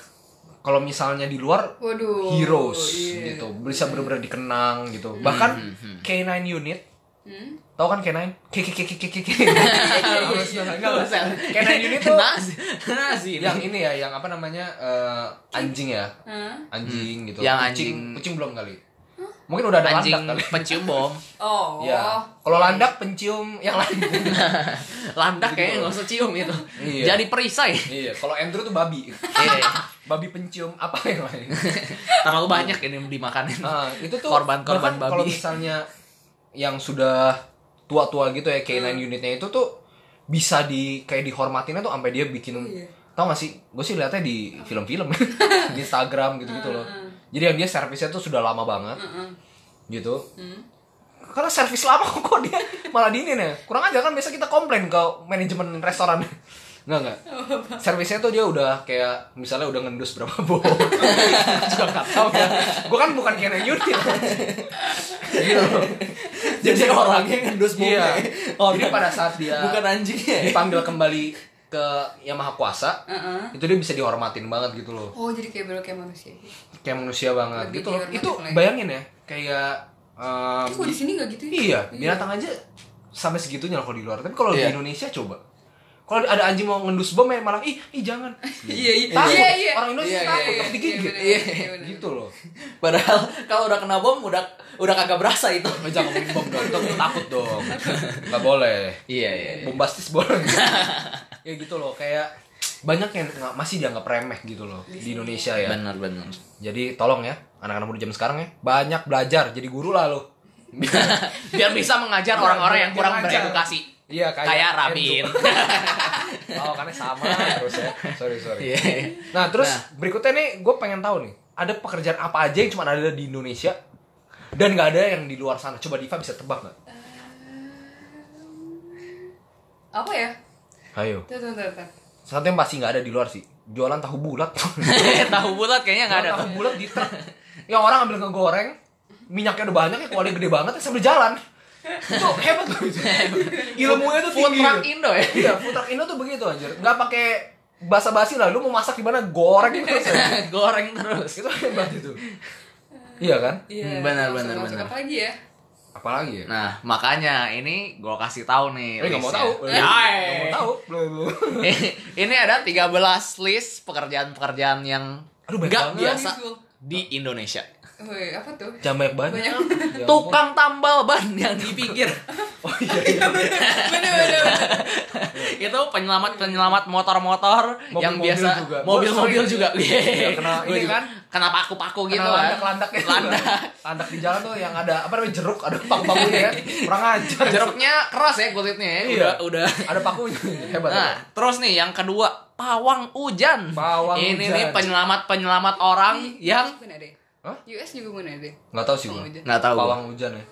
Speaker 2: kalau misalnya di luar
Speaker 3: Waduh.
Speaker 2: heroes
Speaker 3: Oh, iya.
Speaker 2: gitu bisa bener-bener dikenang gitu bahkan K9 unit
Speaker 3: Hmm?
Speaker 2: tau kan K9 K K K K K K K
Speaker 3: Iya,
Speaker 2: K9
Speaker 1: Kayak
Speaker 2: unit
Speaker 1: ini
Speaker 2: tuh
Speaker 1: nazi, nazi ini.
Speaker 2: gitu. yang ini ya yang apa namanya eh, anjing ya
Speaker 3: Hah?
Speaker 2: anjing gitu
Speaker 1: Yang
Speaker 2: kucing
Speaker 1: anjing-
Speaker 2: kucing belum kali mungkin udah ada
Speaker 1: anjing
Speaker 2: landak kali
Speaker 1: pencium bom.
Speaker 3: Oh.
Speaker 2: ya kalau landak pencium yang lain
Speaker 1: Landak kayaknya nggak usah cium itu.
Speaker 2: Iya.
Speaker 1: Jadi perisai.
Speaker 2: iya kalau Andrew tuh babi
Speaker 1: Iya.
Speaker 2: babi pencium apa yang lain
Speaker 1: Terlalu banyak ini dimakanin.
Speaker 2: Ah, itu tuh
Speaker 1: Korban-korban
Speaker 2: bahkan kalau
Speaker 1: babi.
Speaker 2: misalnya yang sudah tua-tua gitu ya
Speaker 3: Hmm.
Speaker 2: K9 unitnya itu tuh bisa di kayak dihormatinnya tuh sampai dia bikin
Speaker 3: iya.
Speaker 2: tau gak sih gue sih liatnya di film-film di Instagram gitu-gitu
Speaker 3: Ah,
Speaker 2: loh jadi yang dia servisnya tuh sudah lama banget
Speaker 3: Uh-uh.
Speaker 2: gitu
Speaker 3: Hmm.
Speaker 2: karena servis lama kok dia malah diinin ya kurang aja kan biasa kita komplain ke manajemen restoran Enggak enggak. Servisnya tuh dia udah kayak misalnya udah ngendus berapa bohong. Juga enggak tahu ya. Gua kan bukan kayak Yudi. Gitu.
Speaker 1: Jadi orangnya ngendus bomnya.
Speaker 2: Iya.
Speaker 1: Orang.
Speaker 2: Jadi pada saat dia
Speaker 1: Bukan anjingnya.
Speaker 2: dipanggil kembali ke Yang Maha Kuasa,
Speaker 3: Heeh.
Speaker 2: itu dia bisa dihormatin banget gitu loh.
Speaker 3: Uh-uh. Oh jadi kayak belok kayak manusia.
Speaker 2: Kayak manusia banget
Speaker 3: Lebih
Speaker 2: gitu loh.
Speaker 3: dihormatin
Speaker 2: Itu
Speaker 3: lagi.
Speaker 2: bayangin ya, kayak um,
Speaker 3: Tapi kok di sini nggak gitu ya?
Speaker 2: Iya, binatang aja sampai segitunya loh kalau di luar. Tapi kalau di
Speaker 1: Iya.
Speaker 2: Indonesia coba. Kalau ada anjing mau ngendus bom ya malah ih, ih jangan.
Speaker 1: Iya, iya.
Speaker 2: Takut.
Speaker 3: Iya, iya.
Speaker 2: Orang
Speaker 1: Iya,
Speaker 2: Indonesia
Speaker 1: iya,
Speaker 2: takut
Speaker 1: iya.
Speaker 2: takut digigit.
Speaker 3: bener, iya, bener.
Speaker 2: Gitu loh.
Speaker 1: Padahal kalau udah kena bom udah udah kagak berasa itu.
Speaker 2: Oh, jangan ngomongin bom dong, dong takut dong. Enggak boleh.
Speaker 1: Iya iya. iya.
Speaker 2: Bombastis boleh. ya gitu loh, kayak banyak yang nggak- masih dianggap remeh gitu loh di Indonesia ya.
Speaker 1: Benar benar.
Speaker 2: Jadi tolong ya, anak-anak muda zaman sekarang ya, banyak belajar jadi guru lah lo.
Speaker 1: Biar bisa mengajar orang-orang yang
Speaker 2: Biar
Speaker 1: kurang
Speaker 2: ngajar.
Speaker 1: beredukasi.
Speaker 2: Iya, kayak
Speaker 1: Kayak
Speaker 2: Enzo.
Speaker 1: Rabin.
Speaker 2: Oh, karena sama terus ya. Sorry, sorry.
Speaker 1: Iya.
Speaker 2: Nah, terus berikutnya nih gue pengen tahu nih, ada pekerjaan apa aja yang cuma ada di Indonesia dan nggak ada yang di luar sana. Coba Diva bisa tebak nggak?
Speaker 3: Apa ya?
Speaker 2: Ayo.
Speaker 3: Tuh tuh tuh tuh.
Speaker 2: Satu yang pasti nggak ada di luar sih. Jualan tahu bulat.
Speaker 1: Tahu bulat kayaknya nggak ada.
Speaker 2: Jualan
Speaker 1: tuh.
Speaker 2: tahu bulat di truk. Yang orang ambil ngegoreng, minyaknya udah banyak ya, kualinya gede banget ya, sambil jalan. Itu hebat loh itu. Ilmunya tuh
Speaker 1: Food
Speaker 2: tinggi.
Speaker 1: truck Indo ya.
Speaker 2: Iya, food truck Indo tuh begitu anjir. Nggak pakai basa-basi lah. Lu mau masak di mana goreng terus. ya. aja.
Speaker 1: Goreng terus.
Speaker 2: itu hebat itu iya kan
Speaker 1: Hmm,
Speaker 3: Iya.
Speaker 1: benar,
Speaker 3: langsung-
Speaker 1: benar,
Speaker 3: langsung
Speaker 1: benar.
Speaker 3: Apa lagi ya?
Speaker 2: apalagi ya
Speaker 1: Nah, makanya ini gue kasih tahu nih.
Speaker 2: Eh, nggak mau
Speaker 1: listnya.
Speaker 2: tahu
Speaker 1: Ya,
Speaker 2: nggak
Speaker 1: eh.
Speaker 2: mau tahu Belum, belum.
Speaker 1: ini ada 13 list pekerjaan-pekerjaan yang
Speaker 2: Aduh, banyak
Speaker 1: nggak
Speaker 2: banget.
Speaker 1: biasa
Speaker 3: Aduh.
Speaker 1: di Indonesia.
Speaker 3: Woi, Oh, iya. apa tuh?
Speaker 2: jangan banyak banyak
Speaker 3: Banyak.
Speaker 2: Ya ampun.
Speaker 1: Tukang tambal ban yang di pinggir.
Speaker 2: oh iya, iya.
Speaker 3: Bener bener. bener.
Speaker 1: itu penyelamat penyelamat motor-motor
Speaker 2: Mobil-mobil
Speaker 1: yang biasa
Speaker 2: juga.
Speaker 1: mobil-mobil
Speaker 2: Mobil
Speaker 1: juga.
Speaker 2: Iya, kena
Speaker 1: Gua
Speaker 2: ini
Speaker 1: juga.
Speaker 2: kan.
Speaker 1: kena paku-paku gitu
Speaker 2: Kena
Speaker 1: kan.
Speaker 2: landak-landak itu.
Speaker 1: Landak.
Speaker 2: landak di jalan tuh yang ada apa namanya jeruk ada paku-pakunya kan kurang ajar
Speaker 1: Jeruknya keras ya kulitnya ya.
Speaker 2: Iya.
Speaker 1: Udah udah.
Speaker 2: ada pakunya hebat
Speaker 1: Nah,
Speaker 2: hebat.
Speaker 1: terus nih yang kedua, pawang hujan.
Speaker 2: Pawang
Speaker 1: Ini
Speaker 2: hujan.
Speaker 1: nih penyelamat-penyelamat orang yang
Speaker 3: Bener deh.
Speaker 2: Iya. Hah?
Speaker 3: US juga bener deh.
Speaker 2: nggak tahu sih
Speaker 3: Bawang
Speaker 2: gua
Speaker 3: hujan.
Speaker 1: nggak tahu.
Speaker 2: bawang hujan ya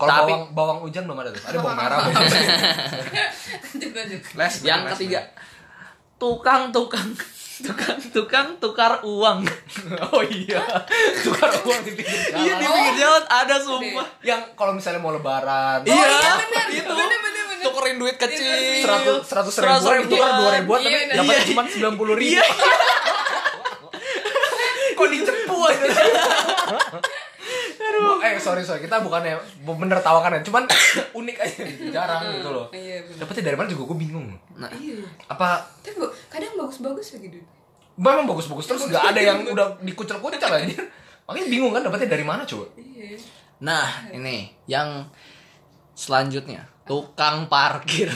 Speaker 2: kalau
Speaker 1: Tapi-
Speaker 2: bawang bawang hujan belum ada tuh ada bawang merah bawang
Speaker 3: Lanjut lanjut.
Speaker 2: les
Speaker 1: yang ketiga, tukang-tukang tukang-tukang tukar uang.
Speaker 2: oh iya tukar uang di pinggir
Speaker 1: Iya di
Speaker 2: jalan
Speaker 1: pinggir jalan ada sumpah.
Speaker 2: yang kalau misalnya mau lebaran Oh,
Speaker 1: Iya,
Speaker 3: iya, bener.
Speaker 2: gitu.
Speaker 1: itu.
Speaker 3: Bener, bener, bener.
Speaker 1: Tukerin duit kecil.
Speaker 2: seratus Iya, seratus ribu
Speaker 1: ribuan.
Speaker 2: tukar dua ribuan
Speaker 3: Iya,
Speaker 2: tapi
Speaker 3: iya.
Speaker 2: dapatnya cuma sembilan puluh ribu
Speaker 1: Iya.
Speaker 2: kok dicepu aja Aduh. Eh sorry sorry kita bukannya bener tawakan ya, cuman unik aja gitu, jarang gitu loh.
Speaker 3: Iya bener.
Speaker 2: Dapatnya dari mana juga gue bingung.
Speaker 1: Nah,
Speaker 3: Iya.
Speaker 2: Apa
Speaker 3: Tapi bu, kadang bagus-bagus ya, gitu. lagi dude.
Speaker 2: memang bagus-bagus terus nggak ada yang udah dikucel-kucel aja. Makanya bingung kan dapatnya dari mana coba?
Speaker 3: Iya.
Speaker 1: nah ini yang selanjutnya tukang parkir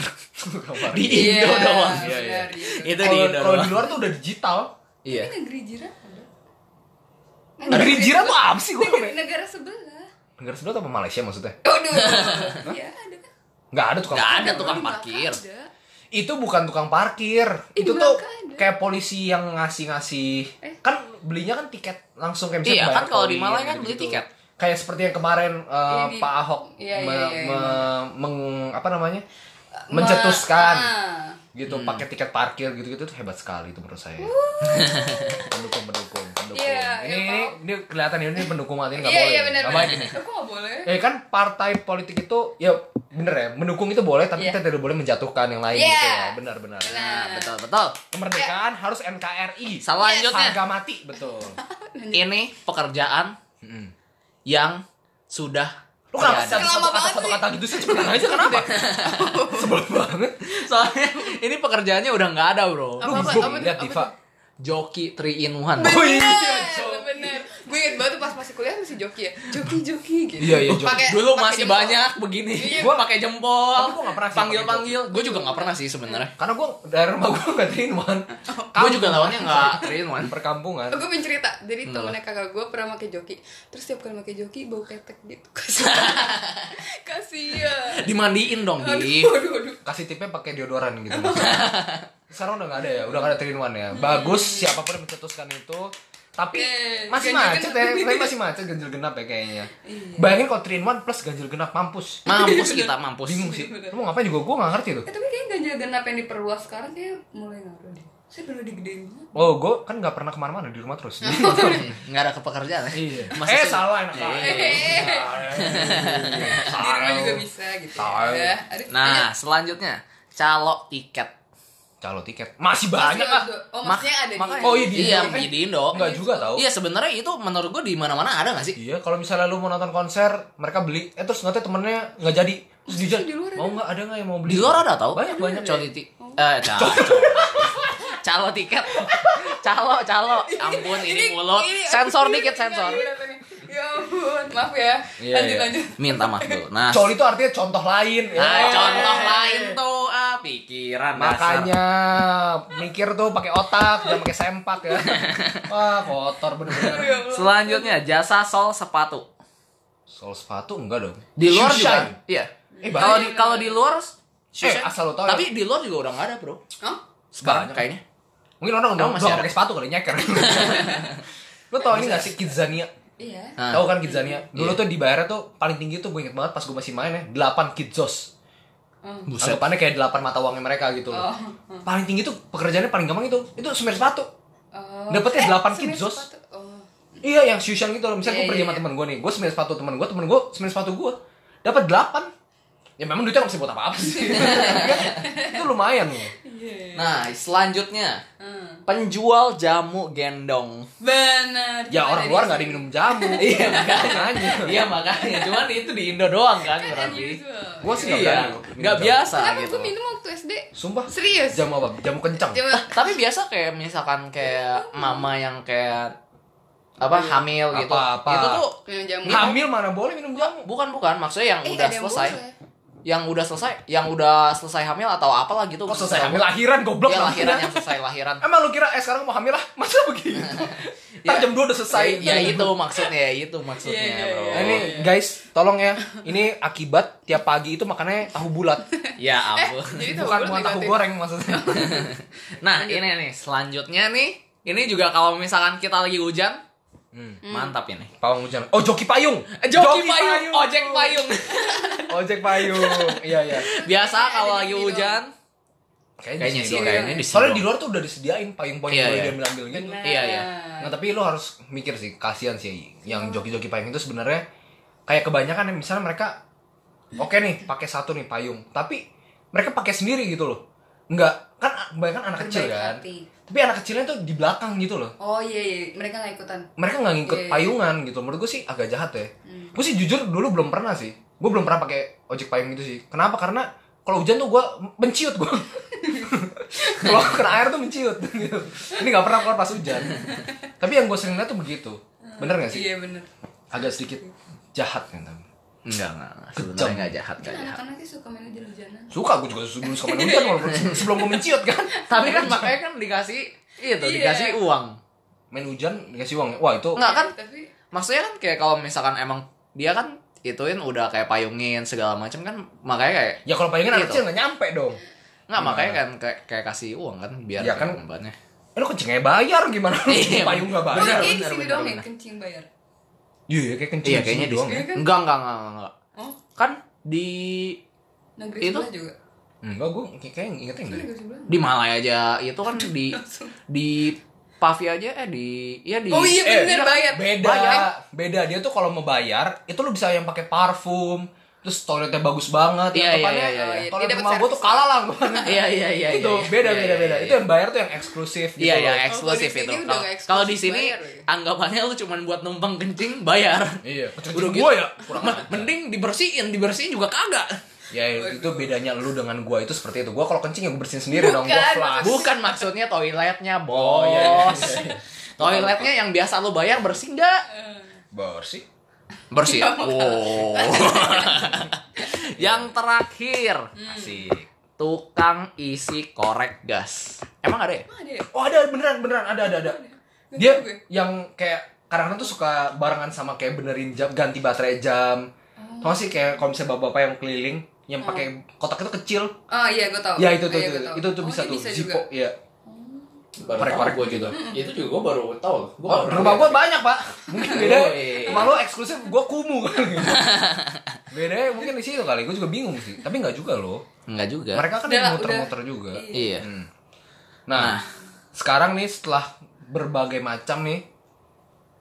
Speaker 1: di Indo
Speaker 3: Iya,
Speaker 1: doang.
Speaker 3: benar,
Speaker 2: iya.
Speaker 3: iya.
Speaker 1: Itu di
Speaker 2: Kalau
Speaker 1: Indo
Speaker 2: kalau di
Speaker 1: doang.
Speaker 2: luar tuh udah digital.
Speaker 1: Iya.
Speaker 3: Ini negeri jiran ada.
Speaker 2: Negeri jiran tuh apa sih gue?
Speaker 3: Negeri- Negara sebelah. Oh,
Speaker 2: Negara sebelah apa Malaysia maksudnya?
Speaker 3: Aduh. Iya, ada kan?
Speaker 2: Nggak ada tukang
Speaker 1: Nggak ada
Speaker 3: Di
Speaker 1: tukang
Speaker 3: belakang
Speaker 1: parkir.
Speaker 3: ada.
Speaker 2: itu bukan tukang parkir
Speaker 3: Ih,
Speaker 2: itu
Speaker 3: di
Speaker 2: tuh
Speaker 3: belakang Iya, kan ada.
Speaker 2: kayak polisi yang ngasih ngasih
Speaker 3: Eh.
Speaker 2: kan belinya kan tiket langsung kayak
Speaker 1: Iya,
Speaker 2: bayar
Speaker 1: kan kalau di
Speaker 2: koin,
Speaker 1: Malang kan beli
Speaker 2: gitu-gitu.
Speaker 1: tiket.
Speaker 2: kayak seperti yang kemarin eh,
Speaker 3: Iya, di-
Speaker 2: Pak Ahok
Speaker 3: Iya, iya,
Speaker 2: me-
Speaker 3: iya, iya.
Speaker 2: me- meng- apa namanya
Speaker 3: Ma-
Speaker 2: mencetuskan
Speaker 3: Ah.
Speaker 2: gitu
Speaker 1: Hmm.
Speaker 2: pakai tiket parkir gitu gitu tuh hebat sekali itu menurut saya pendukung pendukung pendukung
Speaker 3: Iya,
Speaker 2: ini,
Speaker 3: iya,
Speaker 2: ini ini kelihatan ini pendukung mati nggak
Speaker 3: Iya
Speaker 2: boleh
Speaker 3: iya benar
Speaker 2: Nggak
Speaker 3: benar.
Speaker 2: baik ini.
Speaker 3: Kok nggak boleh?
Speaker 2: ya kan partai Eh, politik itu ya bener ya mendukung itu boleh tapi
Speaker 3: Iya.
Speaker 2: kita tidak boleh menjatuhkan yang lain
Speaker 3: Iya.
Speaker 2: gitu ya benar benar
Speaker 1: Nah, betul betul.
Speaker 2: kemerdekaan harus NKRI
Speaker 1: Selanjutnya.
Speaker 2: harga mati betul
Speaker 1: Ini pekerjaan
Speaker 2: Mm-mm.
Speaker 1: yang sudah
Speaker 2: lu kenapa
Speaker 1: tidak ada.
Speaker 2: satu, satu
Speaker 3: Lama
Speaker 2: kata
Speaker 3: banget
Speaker 2: satu
Speaker 3: sih.
Speaker 2: kata gitu sih cepetan aja kenapa sebel banget
Speaker 1: Soalnya ini pekerjaannya udah nggak ada, Bro.
Speaker 2: lu
Speaker 3: Apa, apa,
Speaker 2: bingung
Speaker 3: apa,
Speaker 2: lihat
Speaker 3: apa
Speaker 2: Diva
Speaker 3: tuh?
Speaker 1: Joki 3 in 1.
Speaker 2: Oh iya,
Speaker 3: Bener, bener. Gue inget banget tuh pas masih kuliah masih joki ya. Joki, joki gitu.
Speaker 2: Iya, iya, joki.
Speaker 3: Pakai-
Speaker 1: Dulu
Speaker 3: pakai
Speaker 1: masih
Speaker 3: jempol.
Speaker 1: banyak begini.
Speaker 3: Iya.
Speaker 1: Gua pakai jempol.
Speaker 2: Tapi gua nggak pernah sih
Speaker 1: Panggil-panggil. Gua juga nggak pernah sih sebenarnya.
Speaker 2: karena gue dari rumah gue nggak terinuan
Speaker 1: Gua juga lawannya nggak 3 in 1.
Speaker 2: perkampungan
Speaker 3: Gue pengen cerita, jadi temennya kakak gue pernah pakai joki Terus tiap kali pakai joki, bau ketek gitu Kasian
Speaker 1: Dimandiin dong, Di.
Speaker 3: Aduh, aduh, aduh
Speaker 2: kasih tipnya pakai deodoran gitu sekarang udah nggak ada ya udah nggak ada trinuan ya bagus siapapun yang mencetuskan itu tapi
Speaker 3: Oke,
Speaker 2: masih
Speaker 3: ganjil
Speaker 2: macet ya
Speaker 3: genap.
Speaker 2: tapi masih macet ganjil genap ya kayaknya bayangin kalau trinuan plus ganjil genap mampus
Speaker 1: Mampus kita, mampus.
Speaker 2: bingung sih lu mau ngapain juga gue nggak ngerti tuh
Speaker 3: Eh, tapi kayaknya ganjil genap yang diperluas sekarang kayak mulai ngaruh deh Saya dulu digedein banget
Speaker 2: oh gue kan nggak pernah kemana-mana di rumah terus
Speaker 1: Nggak ada kepekerjaan. ya.
Speaker 2: Iya.
Speaker 1: Masih
Speaker 2: eh
Speaker 1: sih.
Speaker 2: salah enak
Speaker 3: Eh. Di rumah juga
Speaker 2: aja
Speaker 3: bisa gitu
Speaker 2: Tahu.
Speaker 3: ya Aduh,
Speaker 1: Nah, selanjutnya calo tiket.
Speaker 2: calo tiket masih
Speaker 3: banyak.
Speaker 2: banyak lah
Speaker 3: Masih ada- Oh maksudnya ada di
Speaker 1: makanya-
Speaker 2: Oh, iya, di
Speaker 1: iya,
Speaker 2: Indo.
Speaker 1: di Indo.
Speaker 2: nggak juga tau
Speaker 1: Iya, sebenarnya itu menurut gua di mana-mana ada nggak sih?
Speaker 2: Iya, kalau misalnya lu mau nonton konser, mereka beli, eh terus nanti temennya nggak jadi, terus dia
Speaker 3: di luar
Speaker 2: mau nggak ada nggak yang mau beli?
Speaker 1: Di luar ada tau?
Speaker 2: Banyak banyak.
Speaker 1: Calo tiket. Eh, Iya. calo. calo tiket. Calo, calo. Ampun,
Speaker 3: iya,
Speaker 1: ini mulut. Sensor dikit, sensor.
Speaker 3: Ya ampun, maaf ya
Speaker 2: Iya,
Speaker 3: Lanjut,
Speaker 2: iya.
Speaker 3: lanjut
Speaker 1: Minta maaf dulu. Nah,
Speaker 2: Col itu artinya contoh lain.
Speaker 1: nah
Speaker 2: Eh.
Speaker 1: contoh lain tuh ah, pikiran dasar.
Speaker 2: Makanya mikir tuh pakai otak, jangan pakai sempak ya. Wah, kotor bener-bener.
Speaker 1: Iya.
Speaker 3: Ya Allah.
Speaker 1: Selanjutnya jasa sol sepatu.
Speaker 2: Sol sepatu enggak dong.
Speaker 1: Di luar
Speaker 2: Shoe
Speaker 1: juga.
Speaker 2: shine.
Speaker 1: Iya.
Speaker 2: Eh,
Speaker 1: Kalau di
Speaker 2: banyak.
Speaker 1: kalau di luar shoe
Speaker 2: Eh,
Speaker 1: shine.
Speaker 2: asal lu tahu ya.
Speaker 1: Tapi di luar juga udah nggak ada, Bro.
Speaker 3: Hah?
Speaker 1: Sekarang
Speaker 2: Banyak.
Speaker 1: kayaknya.
Speaker 2: Mungkin orang udah
Speaker 1: Emang masih
Speaker 2: masih
Speaker 1: ada?
Speaker 2: pakai sepatu kali nyeker. Lu tau ini gak sih Kidzania?
Speaker 3: Iya
Speaker 1: Nah,
Speaker 2: Tahu kan Kidzania? Dulu
Speaker 1: Iya.
Speaker 2: tuh dibayarnya tuh paling tinggi tuh gue inget banget pas gue masih main ya, 8 Kidzos.
Speaker 1: buset.
Speaker 2: Anggapannya kayak delapan mata uangnya mereka gitu loh.
Speaker 3: Oh.
Speaker 2: Paling tinggi tuh pekerjaannya paling gampang itu. Itu semir sepatu.
Speaker 3: Oh. Eh,
Speaker 2: Dapatnya delapan
Speaker 3: semir
Speaker 2: kidzos.
Speaker 3: sepatu. Oh.
Speaker 2: Iya yang Shushan gitu loh.
Speaker 3: Iya,
Speaker 2: Misalnya gue pergi
Speaker 3: iya,
Speaker 2: sama
Speaker 3: iya.
Speaker 2: temen gue nih. Gue semir sepatu temen gue. Temen gue semir sepatu gue. Dapat delapan. Ya memang duitnya gak bisa buat apa-apa sih. Iya kan? itu lumayan loh.
Speaker 1: Nah, selanjutnya
Speaker 3: Hmm.
Speaker 1: penjual jamu gendong.
Speaker 3: Benar.
Speaker 2: Ya
Speaker 3: Coba
Speaker 2: orang
Speaker 3: dari
Speaker 2: luar
Speaker 3: sini.
Speaker 2: gak ada yang minum jamu. Iya makanya.
Speaker 1: Iya makanya, cuman itu di Indo doang kan
Speaker 3: Kan
Speaker 1: berarti.
Speaker 3: unusual.
Speaker 2: Gue sih gak
Speaker 1: Iya,
Speaker 2: berani. minum
Speaker 1: nggak
Speaker 2: jamu.
Speaker 1: biasa
Speaker 3: Kenapa
Speaker 1: gitu.
Speaker 3: gue minum waktu SD?
Speaker 2: Sumpah.
Speaker 3: Serius?
Speaker 2: Jamu apa? Jamu kencang.
Speaker 3: Coba
Speaker 1: Tapi biasa kayak misalkan kayak mama yang kayak apa hamil gitu.
Speaker 2: Apa-apa.
Speaker 1: Itu tuh
Speaker 3: minum jamu.
Speaker 2: Hamil mana boleh minum jamu.
Speaker 1: bukan bukan maksudnya yang
Speaker 3: Eh,
Speaker 1: udah
Speaker 3: ada yang
Speaker 1: selesai.
Speaker 3: boleh.
Speaker 1: Yang udah selesai, yang udah selesai hamil atau apalah gitu.
Speaker 2: Kok Oh, selesai hamil lahiran goblok
Speaker 1: Iya,
Speaker 2: namanya.
Speaker 1: lahiran yang selesai lahiran.
Speaker 2: Emang lu kira eh sekarang mau hamil lah? Masa begitu?
Speaker 1: Ya.
Speaker 2: Ntar jam 2 udah selesai.
Speaker 1: Ya itu maksudnya, ya itu maksudnya,
Speaker 3: Iya, iya,
Speaker 1: Bro.
Speaker 2: Nah, ini guys, tolong ya. Ini akibat tiap pagi itu makannya tahu bulat.
Speaker 1: Ya ampun.
Speaker 3: Eh, Jadi tahu
Speaker 2: Bukan
Speaker 3: gue
Speaker 2: bukan tahu
Speaker 3: negatif.
Speaker 2: goreng maksudnya.
Speaker 1: Nah, ini nih selanjutnya nih, ini juga kalau misalkan kita lagi hujan,
Speaker 3: Hmm.
Speaker 1: mantap ini.
Speaker 2: Hmm. Pawang hujan. Oh, joki payung.
Speaker 1: Eh, Joki, payung, ojek payung.
Speaker 2: Ojek payung. Iya, iya.
Speaker 1: Biasa
Speaker 3: Kayaknya
Speaker 1: kalau lagi
Speaker 3: ada Iya. di sini
Speaker 1: hujan, kayaknya
Speaker 2: di
Speaker 1: sih
Speaker 2: sini doang.
Speaker 1: kayaknya di sini.
Speaker 2: Soalnya di
Speaker 1: doang.
Speaker 2: luar tuh udah disediain payung-payung
Speaker 1: Iya,
Speaker 2: boleh
Speaker 1: iya.
Speaker 2: diambil-ambil gitu.
Speaker 3: Benar.
Speaker 1: Iya, iya.
Speaker 2: Nah, tapi lu harus mikir sih, kasihan sih yang joki-joki payung itu sebenarnya kayak kebanyakan yang misalnya mereka oke nih pakai satu nih payung, tapi mereka pakai sendiri gitu loh. Enggak, kan kebanyakan anak kecil
Speaker 3: Berbaik
Speaker 2: kan.
Speaker 3: hati.
Speaker 2: Tapi anak kecilnya tuh di belakang gitu loh.
Speaker 3: Oh iya iya, mereka nggak ikutan.
Speaker 2: Mereka nggak ngikut
Speaker 3: Iya, Hmm. iya.
Speaker 2: payungan gitu. Menurut gue sih agak jahat ya. Gue sih jujur dulu belum pernah sih. Gue belum pernah pakai ojek payung gitu sih. Kenapa? Karena kalau hujan tuh gue menciut gue. kalau kena air tuh menciut. gitu. Ini nggak pernah keluar pas hujan. Tapi yang gue sering lihat tuh begitu. Bener gak sih?
Speaker 3: Iya benar.
Speaker 2: agak sedikit jahat kan tapi.
Speaker 1: Enggak, enggak, enggak. Sebenarnya
Speaker 2: Kejam.
Speaker 1: enggak jahat,
Speaker 2: iya.
Speaker 1: enggak jahat.
Speaker 3: Kan Anak-anak sih suka main hujan-hujanan.
Speaker 2: suka gue juga sebelum suka main hujan walaupun sebelum gue menciut kan
Speaker 1: Tapi kan makanya kan dikasih itu,
Speaker 3: Iya.
Speaker 1: dikasih uang.
Speaker 2: main hujan dikasih uang ya? wah itu
Speaker 1: Enggak kan?
Speaker 3: Tapi
Speaker 1: Maksudnya kan kayak kalau misalkan emang dia kan ituin udah kayak payungin segala macam kan makanya kayak
Speaker 2: ya kalau payungin
Speaker 3: Iya,
Speaker 2: anak
Speaker 1: Gitu.
Speaker 2: kecil nggak nyampe dong
Speaker 1: enggak makanya kan kayak, kayak kasih uang kan biar
Speaker 2: Iya kan?
Speaker 1: pembannya.
Speaker 2: eh lu kencingnya bayar gimana lu
Speaker 1: Iya,
Speaker 2: payung nggak
Speaker 3: Oh,
Speaker 2: bayar
Speaker 1: benar,
Speaker 3: kayak di
Speaker 1: benar,
Speaker 3: sini
Speaker 1: benar,
Speaker 3: doang ya
Speaker 1: benar.
Speaker 3: kencing bayar.
Speaker 2: iya iya, kayak kencing
Speaker 1: Iya
Speaker 2: di
Speaker 1: kayaknya
Speaker 2: sini
Speaker 1: di
Speaker 2: doang
Speaker 1: sini.
Speaker 2: ya
Speaker 3: kan?
Speaker 1: Enggak, enggak, enggak, enggak, enggak.
Speaker 3: Oh,
Speaker 1: Kan di
Speaker 3: negeri
Speaker 1: Itu?
Speaker 3: sebelah juga.
Speaker 2: enggak gue kayak
Speaker 3: Itu
Speaker 2: ingetnya enggak ya?
Speaker 3: negeri sebelah.
Speaker 1: di Malaya aja itu kan di di Pavi aja eh di ya di
Speaker 3: Oh iya
Speaker 2: eh,
Speaker 3: benar bayar.
Speaker 2: beda beda dia tuh kalau mau bayar itu lu bisa yang pakai parfum terus toiletnya bagus banget
Speaker 1: Iya,
Speaker 2: yang
Speaker 1: iya,
Speaker 2: depannya,
Speaker 1: iya, iya.
Speaker 2: eh, toilet
Speaker 3: Dia dapat
Speaker 2: rumah gue tuh
Speaker 3: servis.
Speaker 2: kalah lah gua.
Speaker 1: Iya iya iya. iya,
Speaker 2: itu
Speaker 1: iya.
Speaker 2: beda
Speaker 1: Iya,
Speaker 2: beda
Speaker 1: iya,
Speaker 2: beda
Speaker 1: iya.
Speaker 2: itu yang bayar tuh yang eksklusif gitu
Speaker 1: Iya,
Speaker 2: loh.
Speaker 1: yang eksklusif
Speaker 3: Oh, Kalau
Speaker 1: itu.
Speaker 3: di sini udah
Speaker 1: Kalau-
Speaker 3: nggak
Speaker 1: Kalau di
Speaker 3: eksklusif,
Speaker 1: sini
Speaker 3: bayar ya? lagi.
Speaker 1: anggapannya lu cuman buat numpang kencing bayar.
Speaker 2: iya
Speaker 1: Udah
Speaker 2: udah
Speaker 1: gitu.
Speaker 2: gue ya kurang
Speaker 1: men- mending dibersihin, dibersihin juga kagak.
Speaker 2: ya itu bedanya lu dengan gue itu seperti itu gue kalau kencing ya gue bersihin sendiri dong gue
Speaker 3: Bukan,
Speaker 2: flash
Speaker 1: Bukan maksudnya toiletnya, Bos.
Speaker 2: Oh, iya, iya, iya, iya.
Speaker 1: Toiletnya yang biasa lu bayar bersih nggak?
Speaker 2: bersih oh.
Speaker 1: Bersih. ya? Wow. yang terakhir,
Speaker 2: asik
Speaker 1: tukang isi korek gas. Emang ada ya?
Speaker 3: Emang ada ya?
Speaker 2: oh ada beneran beneran ada ada ada
Speaker 3: Nggak ya?
Speaker 2: dia
Speaker 3: tahu gue.
Speaker 2: yang kayak kadang-kadang tuh suka barengan sama kayak benerin jam ganti baterai jam
Speaker 3: Oh.
Speaker 2: tau gak sih kayak kalau misalnya bapak-bapak yang keliling yang pakai kotak itu kecil
Speaker 3: Oh iya gue tau
Speaker 2: ya itu tuh
Speaker 3: Ah. Iya,
Speaker 2: itu,
Speaker 3: gua tahu.
Speaker 2: itu tuh
Speaker 3: Oh,
Speaker 2: bisa
Speaker 3: dia
Speaker 2: tuh
Speaker 3: juga. Oh.
Speaker 2: zippo ya
Speaker 4: Baru
Speaker 2: Korek-
Speaker 4: tahu
Speaker 2: korek.
Speaker 4: gua gitu. Itu juga gue baru tahu. Gua
Speaker 2: Oh,
Speaker 4: baru Oh, iya,
Speaker 2: rumah
Speaker 4: tahu.
Speaker 2: gua banyak pak mungkin beda
Speaker 4: Woi.
Speaker 2: rumah lo eksklusif gua kumuh beda ya, mungkin di situ kali gua juga bingung sih tapi nggak juga loh
Speaker 1: Enggak juga.
Speaker 4: Ya.
Speaker 2: mereka kan
Speaker 3: Udah lah,
Speaker 2: muter-muter
Speaker 3: udah.
Speaker 2: juga
Speaker 3: Iya.
Speaker 1: Iya.
Speaker 2: Hmm.
Speaker 1: Nah.
Speaker 2: Nah, sekarang nih setelah berbagai macam nih,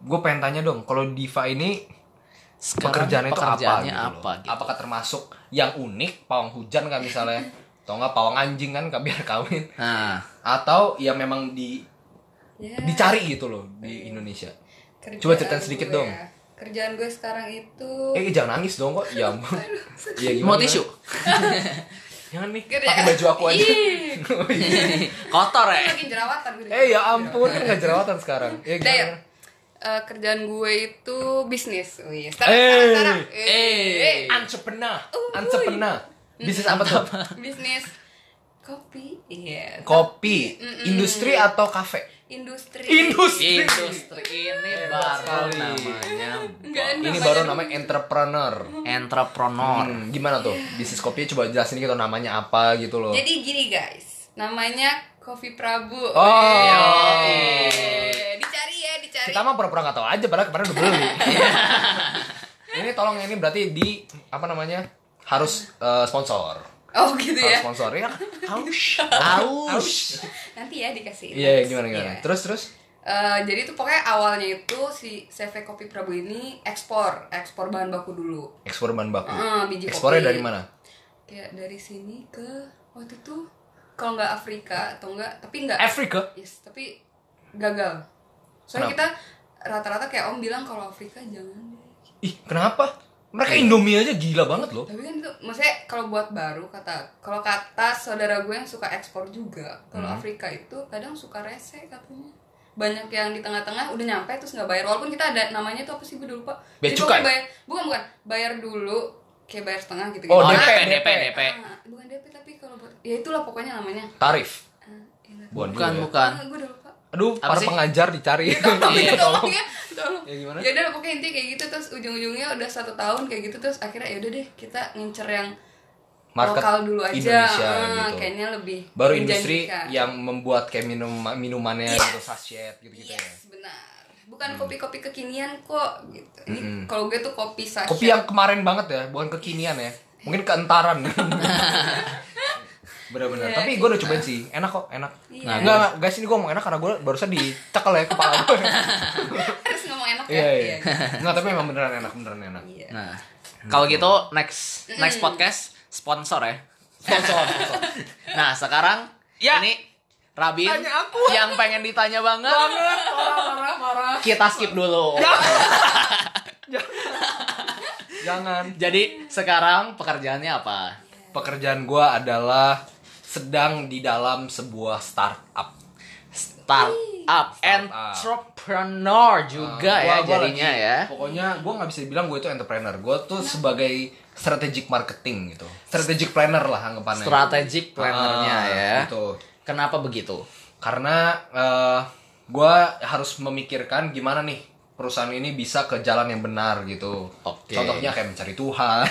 Speaker 2: gue pengen tanya dong, kalau Diva ini
Speaker 1: Sekarang
Speaker 2: pekerjaannya itu apa?
Speaker 1: pekerjaannya
Speaker 2: gitu loh?
Speaker 1: apa gitu?
Speaker 2: Apakah termasuk yang unik, pawang hujan kan misalnya, atau nggak pawang anjing kan nggak biar kawin?
Speaker 1: Nah,
Speaker 2: Atau ya memang di
Speaker 3: Ya,
Speaker 2: dicari gitu loh di Indonesia.
Speaker 3: kerjaan
Speaker 2: Coba ceritain sedikit
Speaker 3: gue
Speaker 2: dong.
Speaker 3: ya. Kerjaan gue sekarang itu
Speaker 2: Eh jangan nangis dong kok, ya ampun.
Speaker 4: Iya,
Speaker 2: Ya, gimana?
Speaker 1: mau tisu?
Speaker 2: Jangan nih,
Speaker 3: Kerja-
Speaker 2: pakai baju aku aja.
Speaker 3: Ih,
Speaker 1: Kotor ya?
Speaker 3: lagi jerawatan gue.
Speaker 2: eh ya ampun, kan nggak jerawatan sekarang. Ya,
Speaker 3: Udah ya?
Speaker 2: gimana?
Speaker 3: Eh, kerjaan gue itu bisnis. Oh iya.
Speaker 2: Eh.
Speaker 3: Sekarang, sekarang, sekarang.
Speaker 1: Eh.
Speaker 2: Entrepreneur, entrepreneur. Bisnis apa tuh?
Speaker 3: Bisnis kopi. Iya.
Speaker 2: Kopi, industri atau kafe?
Speaker 3: Industri.
Speaker 2: Industri.
Speaker 1: Industri ini baru
Speaker 2: sekali.
Speaker 1: namanya
Speaker 3: Enggak,
Speaker 2: Ini
Speaker 3: namanya
Speaker 2: baru
Speaker 3: dulu.
Speaker 2: namanya entrepreneur.
Speaker 1: entrepreneur.
Speaker 2: Hmm, gimana tuh? Bisnis kopi coba jelasin gitu namanya apa gitu loh.
Speaker 3: Jadi gini guys, namanya Kopi Prabu.
Speaker 2: Oh.
Speaker 3: Eh, Dicari ya, dicari.
Speaker 2: Kita mah pura-pura nggak tahu aja padahal kemarin udah beli. ini tolong ini berarti di apa namanya? Harus eh, sponsor.
Speaker 3: Oh gitu
Speaker 2: Harus
Speaker 1: Iya.
Speaker 3: ya.
Speaker 2: sponsor ya. Aus.
Speaker 1: Aus.
Speaker 3: Nanti ya dikasih.
Speaker 2: Iya, iya, gimana gimana.
Speaker 3: Iya.
Speaker 2: Terus terus
Speaker 3: Eh, jadi itu pokoknya awalnya itu si CV Kopi Prabu ini ekspor, ekspor bahan baku dulu.
Speaker 2: ekspor bahan baku.
Speaker 1: Eh,
Speaker 3: Heeh, biji
Speaker 2: Iya. Ekspornya
Speaker 3: kopi.
Speaker 2: dari mana?
Speaker 3: Kayak dari sini ke waktu itu kalau nggak Afrika atau nggak, tapi nggak.
Speaker 2: Afrika.
Speaker 3: Yes, tapi gagal. Soalnya
Speaker 2: Kenapa?
Speaker 3: kita rata-rata kayak Om bilang kalau Afrika jangan deh.
Speaker 2: Ih, kenapa? Mereka Indomie aja gila banget loh.
Speaker 3: Tapi kan itu maksudnya kalau buat baru kata kalau kata saudara gue yang suka ekspor juga, kalau
Speaker 2: Hmm.
Speaker 3: Afrika itu kadang suka rese katanya. Banyak yang di tengah-tengah udah nyampe terus nggak bayar walaupun kita ada namanya itu apa sih gue udah lupa.
Speaker 2: Bea
Speaker 3: Jadi
Speaker 2: cukai?
Speaker 3: pokoknya bayar, bukan bukan, bayar dulu kayak bayar setengah gitu
Speaker 2: Oh,
Speaker 1: DP,
Speaker 2: DP,
Speaker 1: DP, DP.
Speaker 3: Ah, bukan DP tapi kalau buat ya itulah pokoknya namanya.
Speaker 2: Tarif.
Speaker 3: Ah, ingat.
Speaker 1: Bukan,
Speaker 2: Bukan, juga ya.
Speaker 1: bukan.
Speaker 3: Ah, gue udah lupa.
Speaker 2: Aduh,
Speaker 1: Apa
Speaker 2: para
Speaker 1: sih?
Speaker 2: pengajar dicari.
Speaker 1: Iya,
Speaker 3: tolong ya tolong
Speaker 2: Ya, gimana?
Speaker 3: ya udah pokoknya intinya kayak gitu terus ujung-ujungnya udah satu tahun kayak gitu terus akhirnya ya udah deh kita ngincer yang
Speaker 2: Market
Speaker 3: lokal dulu aja
Speaker 2: Indonesia,
Speaker 3: Ah,
Speaker 2: gitu.
Speaker 3: kayaknya lebih
Speaker 2: Baru industri ya.
Speaker 3: menjanjikan. Iya.
Speaker 2: yang membuat kayak minum minumannya gitu sachet gitu-gitu ya.
Speaker 3: yes benar bukan
Speaker 2: Hmm.
Speaker 3: kopi-kopi kekinian kok gitu ini kalau gue tuh kopi sachet
Speaker 2: Kopi yang kemarin banget ya, bukan kekinian ya. Mungkin keentaran. Bener-bener.
Speaker 3: Iya,
Speaker 2: Tapi gue udah cobain sih. Enak kok, enak.
Speaker 3: Iya.
Speaker 2: Nah, enggak, enggak, guys, ini gue mau enak karena gue barusan dicekel ya kepala gue.
Speaker 3: harus ngomong enak ya
Speaker 2: Iya, iya.
Speaker 3: Iya.
Speaker 2: Enggak, tapi memang beneran enak, beneran enak.
Speaker 3: Iya.
Speaker 1: Nah, kalau gitu next next podcast sponsor ya.
Speaker 2: Sponsor, Ya. sponsor.
Speaker 1: Nah, sekarang ini Rabin yang pengen ditanya banget. Kita skip dulu.
Speaker 2: Jangan.
Speaker 1: Jadi sekarang pekerjaannya apa?
Speaker 2: Pekerjaan gue adalah sedang di dalam sebuah startup.
Speaker 1: Startup, entrepreneur juga
Speaker 2: Gua-
Speaker 1: ya
Speaker 2: gua
Speaker 1: jadinya
Speaker 2: lagi-
Speaker 1: ya.
Speaker 2: Pokoknya gue nggak bisa bilang gue itu entrepreneur. Gue tuh sebagai strategic marketing gitu. Strategic planner lah anggapannya.
Speaker 1: Strategic plannernya
Speaker 2: Ah,
Speaker 1: ya.
Speaker 2: Gitu.
Speaker 1: Kenapa begitu?
Speaker 2: Karena eh, gua gue harus memikirkan gimana nih perusahaan ini bisa ke jalan yang benar gitu.
Speaker 1: Oke.
Speaker 2: Contohnya kayak mencari Tuhan,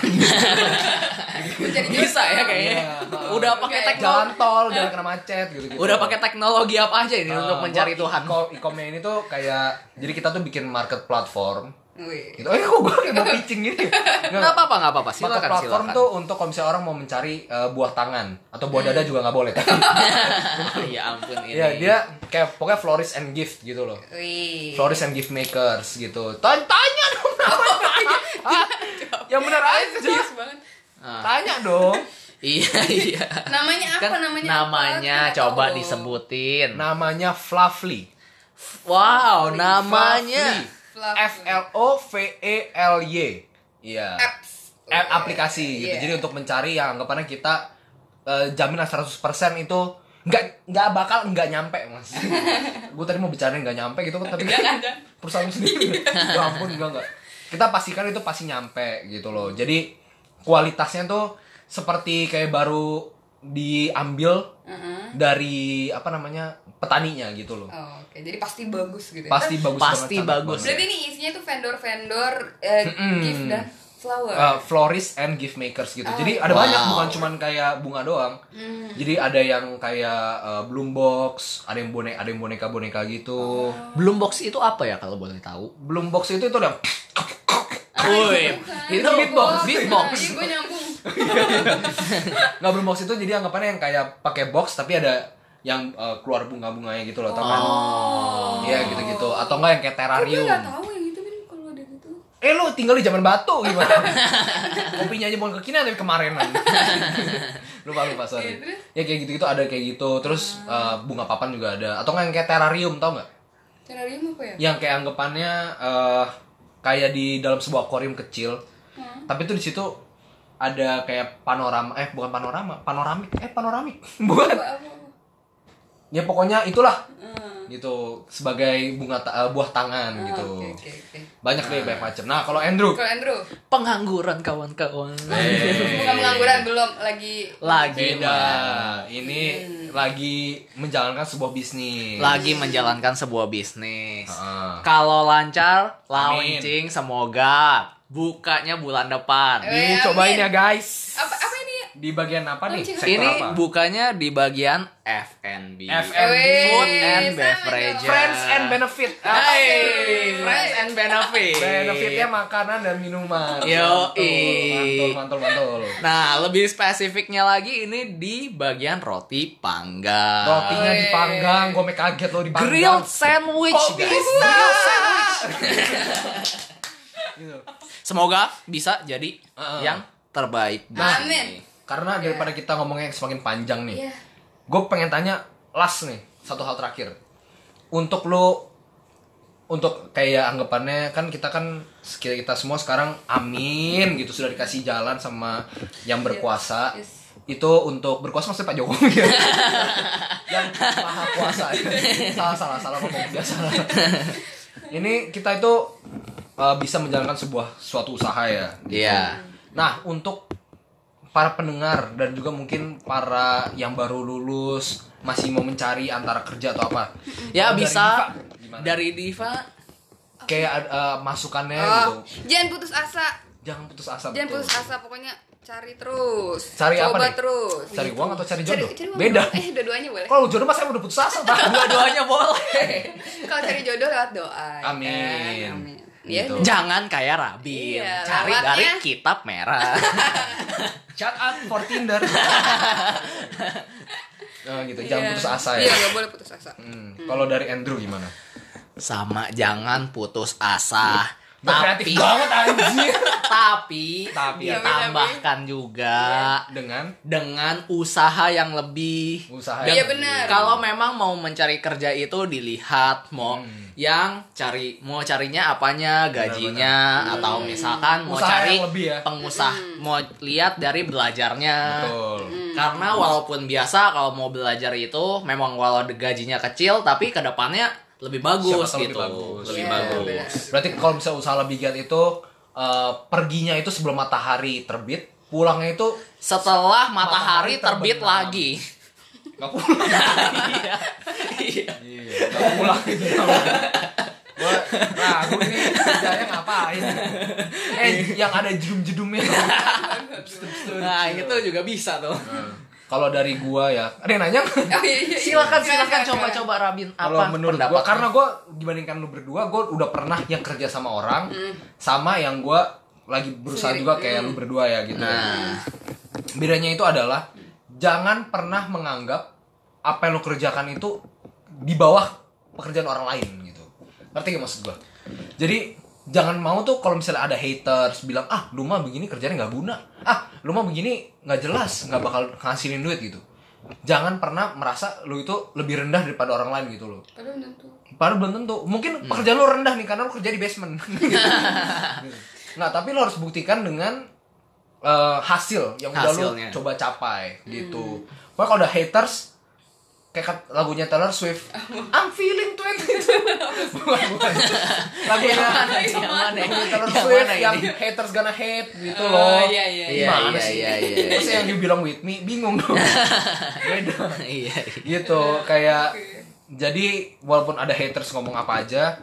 Speaker 3: Gue jadi
Speaker 1: Bisa ya kayaknya. Udah pakai
Speaker 3: Kayak
Speaker 1: teknologi.
Speaker 2: jalan tol, Iya. jangan Ah, kena macet gitu. -gitu.
Speaker 1: Udah pakai teknologi apa aja ini untuk mencari Tuhan?
Speaker 2: E-comnya ini tuh kayak jadi kita tuh bikin market platform.
Speaker 3: Wih.
Speaker 2: Gitu. Eh kok gue kayak mau pitching gini?
Speaker 1: Nggak apa-apa, nggak apa-apa.
Speaker 2: Maka
Speaker 1: Silakan,
Speaker 2: platform
Speaker 1: silakan.
Speaker 2: tuh untuk kalau misalnya orang mau mencari eh, buah tangan atau buah dada juga nggak boleh.
Speaker 1: ya ampun ini.
Speaker 2: Iya dia kayak pokoknya florist and gift gitu loh.
Speaker 1: Iya.
Speaker 3: Wih.
Speaker 2: Florist and gift makers gitu. Tanya, tanya dong namanya. Yang benar
Speaker 1: Iya,
Speaker 2: aja.
Speaker 3: Serius banget.
Speaker 1: Ah,
Speaker 2: Tanya dong.
Speaker 1: iya iya.
Speaker 3: Namanya apa?
Speaker 1: Kan
Speaker 3: namanya apa?
Speaker 1: namanya
Speaker 3: Kita nggak
Speaker 1: coba
Speaker 3: tahu.
Speaker 1: disebutin.
Speaker 2: Namanya Fluffy.
Speaker 1: Wow, namanya.
Speaker 3: Fluffy.
Speaker 2: F L O V E L Y. Iya.
Speaker 3: Apps.
Speaker 2: App aplikasi gitu.
Speaker 3: Iya.
Speaker 2: Jadi untuk mencari yang anggapannya kita eh, jaminan 100% itu nggak nggak bakal nggak nyampe mas gue tadi mau bicara nggak nyampe gitu kan tapi perusahaan sendiri ya ampun enggak enggak kita pastikan itu pasti nyampe gitu loh jadi kualitasnya tuh seperti kayak baru diambil
Speaker 3: Heeh.
Speaker 2: dari apa namanya petaninya gitu loh
Speaker 3: Oh, Oke, jadi pasti bagus gitu. ya.
Speaker 2: pasti bagus
Speaker 1: Pasti
Speaker 2: banget,
Speaker 1: bagus.
Speaker 2: cantik
Speaker 3: Berarti ini isinya tuh vendor-vendor eh, gift dan flower.
Speaker 2: Uh, florist and gift makers gitu. Jadi ada
Speaker 1: Wow.
Speaker 2: banyak bukan cuman kayak bunga doang. Jadi ada yang kayak uh, bloom box, ada yang boneka, ada yang boneka-boneka gitu.
Speaker 1: Belum box itu apa ya kalau boleh tahu?
Speaker 2: Bloom box itu itu udah
Speaker 1: Woi, itu
Speaker 2: beatbox.
Speaker 1: beatbox.
Speaker 3: Iya, gue nyambung.
Speaker 2: nggak bloom box itu jadi anggapannya yang kayak pakai box tapi ada yang uh, keluar bunga-bunganya gitu loh, tau kan? Iya gitu-gitu atau enggak yang kayak
Speaker 3: Gue
Speaker 2: terrarium.
Speaker 3: nggak tahu yang itu kan kalau ada gitu.
Speaker 2: Eh lu tinggal di zaman batu gimana? Kopinya aja bukan kekinian tapi kemarinan. lupa lupa sorry. Ya kayak gitu-gitu ada kayak gitu. Terus
Speaker 3: Ah.
Speaker 2: eh, bunga papan juga ada. Atau nggak yang kayak terrarium tau nggak?
Speaker 3: Terrarium apa ya?
Speaker 2: Yang kayak anggapannya eh, kayak di dalam sebuah akuarium kecil.
Speaker 3: Hmm.
Speaker 2: Tapi tuh di situ ada kayak panorama eh bukan panorama, panoramik. Eh panoramik. bukan.
Speaker 3: Apa apa? apa?
Speaker 2: Gitu. Ya pokoknya itulah. Gitu sebagai bunga ta- eh, buah tangan
Speaker 3: Hmm. Ah,
Speaker 2: gitu.
Speaker 3: Oke oke oke.
Speaker 2: Banyak deh banyak macam. Nah, kalau Andrew
Speaker 3: Kalau Andrew,
Speaker 1: Pengangguran kawan-kawan.
Speaker 2: Eh.
Speaker 3: bukan pengangguran belum lagi
Speaker 1: Lagi
Speaker 2: Beda. Ini lagi menjalankan sebuah bisnis.
Speaker 1: lagi menjalankan sebuah bisnis.
Speaker 2: Heeh.
Speaker 1: Kalau lancar,
Speaker 2: Amin.
Speaker 1: launching semoga bukanya bulan depan.
Speaker 3: Eh. Weh,
Speaker 2: Dicobain
Speaker 3: amin.
Speaker 2: ya guys.
Speaker 3: apa apa ini?
Speaker 2: Di bagian apa nih?
Speaker 3: Launching
Speaker 2: Sektor apa?
Speaker 1: Ini bukanya di bagian F&B.
Speaker 2: F&B.
Speaker 3: Weh,
Speaker 1: Food and
Speaker 3: sama
Speaker 1: beverages.
Speaker 3: dong.
Speaker 2: Friends and benefit.
Speaker 1: Hai,
Speaker 3: Hey,
Speaker 1: friends and benefit.
Speaker 2: Nah, iya. Benefitnya makanan dan minuman.
Speaker 1: Yo,
Speaker 2: mantul,
Speaker 1: i.
Speaker 2: mantul, mantul.
Speaker 1: Nah, lebih spesifiknya lagi ini di bagian roti panggang.
Speaker 2: Rotinya
Speaker 3: Weh.
Speaker 2: dipanggang, gue make kaget loh dipanggang.
Speaker 1: Grilled sandwich,
Speaker 2: Kok
Speaker 1: guys.
Speaker 2: bisa?
Speaker 1: Grilled sandwich. Gitu. Semoga bisa jadi
Speaker 2: Heeh.
Speaker 1: yang terbaik. di
Speaker 3: Nah.
Speaker 1: sini.
Speaker 3: Amin.
Speaker 2: Karena daripada kita ngomongnya semakin panjang nih,
Speaker 3: Iya.
Speaker 2: gue pengen tanya last nih satu hal terakhir. Untuk lo, untuk kayak anggapannya kan kita kan kita kita semua sekarang amin gitu sudah dikasih jalan sama yang berkuasa.
Speaker 3: Yes.
Speaker 2: Itu untuk berkuasa maksudnya Pak Jokowi ya. yang maha kuasa. salah salah salah ngomong biasa. Ini kita itu uh, bisa menjalankan sebuah suatu usaha ya.
Speaker 1: Iya.
Speaker 2: Nah, untuk para pendengar dan juga mungkin para yang baru lulus masih mau mencari antara kerja atau apa.
Speaker 1: Ya
Speaker 2: Kalau dari
Speaker 1: bisa
Speaker 2: Diva, gimana?
Speaker 1: dari Diva.
Speaker 2: kayak eh, masukannya gitu.
Speaker 3: Oh, jangan putus asa.
Speaker 2: Jangan putus asa.
Speaker 3: Jangan
Speaker 2: betul.
Speaker 3: putus asa, pokoknya cari terus.
Speaker 2: Cari apa
Speaker 3: Coba
Speaker 2: nih?
Speaker 3: terus.
Speaker 2: Cari uang atau cari
Speaker 3: Cari,
Speaker 2: jodoh?
Speaker 3: cari uang.
Speaker 2: Beda. Oh.
Speaker 3: Eh, dua-duanya boleh.
Speaker 2: Kalau jodoh mas saya udah putus asa, Pak.
Speaker 1: Dua-duanya boleh.
Speaker 3: Kalau cari jodoh lewat doa. ya kan?
Speaker 2: Amin.
Speaker 3: Amin. Iya.
Speaker 2: Gitu.
Speaker 1: Jangan kayak Rabi.
Speaker 3: Iya,
Speaker 1: Cari
Speaker 3: lewatnya.
Speaker 1: dari kitab merah.
Speaker 2: Shut up for Tinder. Nah, gitu. Jangan
Speaker 3: Iya.
Speaker 2: putus asa ya.
Speaker 3: Iya, nggak boleh putus asa.
Speaker 2: Hmm, Kalau dari Andrew gimana?
Speaker 1: Sama jangan putus asa.
Speaker 2: Gua
Speaker 1: Tapi
Speaker 2: kreatif banget anjir.
Speaker 1: tapi
Speaker 2: Tapi
Speaker 3: Iya,
Speaker 2: ya.
Speaker 1: ditambahkan juga
Speaker 2: Dengan
Speaker 1: dengan usaha yang lebih
Speaker 2: Usaha
Speaker 1: Dan
Speaker 2: yang
Speaker 3: Iya, benar.
Speaker 1: kalau memang mau mencari kerja itu dilihat mau
Speaker 2: Hmm.
Speaker 1: yang cari mau carinya apanya gajinya atau misalkan mau
Speaker 2: Iya, Usaha
Speaker 1: cari
Speaker 2: yang lebih ya.
Speaker 1: pengusaha
Speaker 3: Hmm.
Speaker 1: mau lihat dari belajarnya
Speaker 2: betul.
Speaker 1: karena walaupun biasa kalau mau belajar itu memang walau gajinya kecil tapi kedepannya lebih bagus
Speaker 2: Siapa tahu
Speaker 1: gitu
Speaker 2: lebih bagus.
Speaker 1: Lebih
Speaker 3: Iya,
Speaker 1: bagus.
Speaker 3: benar.
Speaker 2: Berarti kalau misalnya usaha lebih giat itu eh, perginya itu sebelum matahari terbit, pulangnya itu
Speaker 1: setelah matahari,
Speaker 2: Matahari
Speaker 1: terbit
Speaker 2: terbenam.
Speaker 1: lagi
Speaker 2: nggak pulang.
Speaker 1: Iya. Iya.
Speaker 2: Iya, nggak pulang gitu. Gue ragu nih "Nah, kerjanya ngapain? Eh, yang ada jedum-jedumnya.
Speaker 1: nah itu juga bisa tuh
Speaker 2: kalau dari gua ya, ada yang nanya? nggak?
Speaker 3: Oh, iya, iya, iya.
Speaker 1: silakan
Speaker 3: Nggak,
Speaker 1: silakan
Speaker 3: nggak,
Speaker 1: coba
Speaker 3: nggak.
Speaker 1: coba Rabin apa
Speaker 2: Kalau menurut
Speaker 1: pendapat
Speaker 2: gua, karena gua dibandingkan lu berdua, gua udah pernah yang kerja sama orang, sama yang gua lagi berusaha
Speaker 3: Hmm. Sendiri.
Speaker 2: juga kayak lu berdua ya gitu.
Speaker 1: nah
Speaker 2: bedanya itu adalah jangan pernah menganggap apa yang lo kerjakan itu di bawah pekerjaan orang lain gitu ngerti gak maksud gua jadi jangan mau tuh kalau misalnya ada haters bilang ah lu mah begini kerjanya nggak guna ah lu mah begini nggak jelas nggak bakal ngasilin duit gitu jangan pernah merasa lu itu lebih rendah daripada orang lain gitu loh
Speaker 3: Padahal belum tentu.
Speaker 2: Padahal belum tentu. Mungkin
Speaker 1: Hmm.
Speaker 2: pekerjaan lo rendah nih karena lo kerja di basement. Gitu. nah, tapi lo harus buktikan dengan eh, hasil yang udah lo
Speaker 1: Hasilnya. Hmm.
Speaker 2: coba capai gitu. Pokoknya kalau udah haters kayak kat- lagunya Taylor Swift, I'm feeling 22. bukan, bukan. Lagunya
Speaker 1: Yang mana?
Speaker 2: lagunya Taylor
Speaker 1: Yang
Speaker 2: Swift
Speaker 1: mana
Speaker 2: yang
Speaker 1: ini? Ah,
Speaker 2: haters gonna hate gitu
Speaker 3: Oh,
Speaker 2: loh.
Speaker 3: iya, iya,
Speaker 1: iya. Iya,
Speaker 2: Gimana sih?
Speaker 1: iya, iya, iya.
Speaker 2: Terus yang dibilang with me bingung dong. Beda
Speaker 1: iya iya.
Speaker 2: gitu kayak jadi walaupun ada haters ngomong apa aja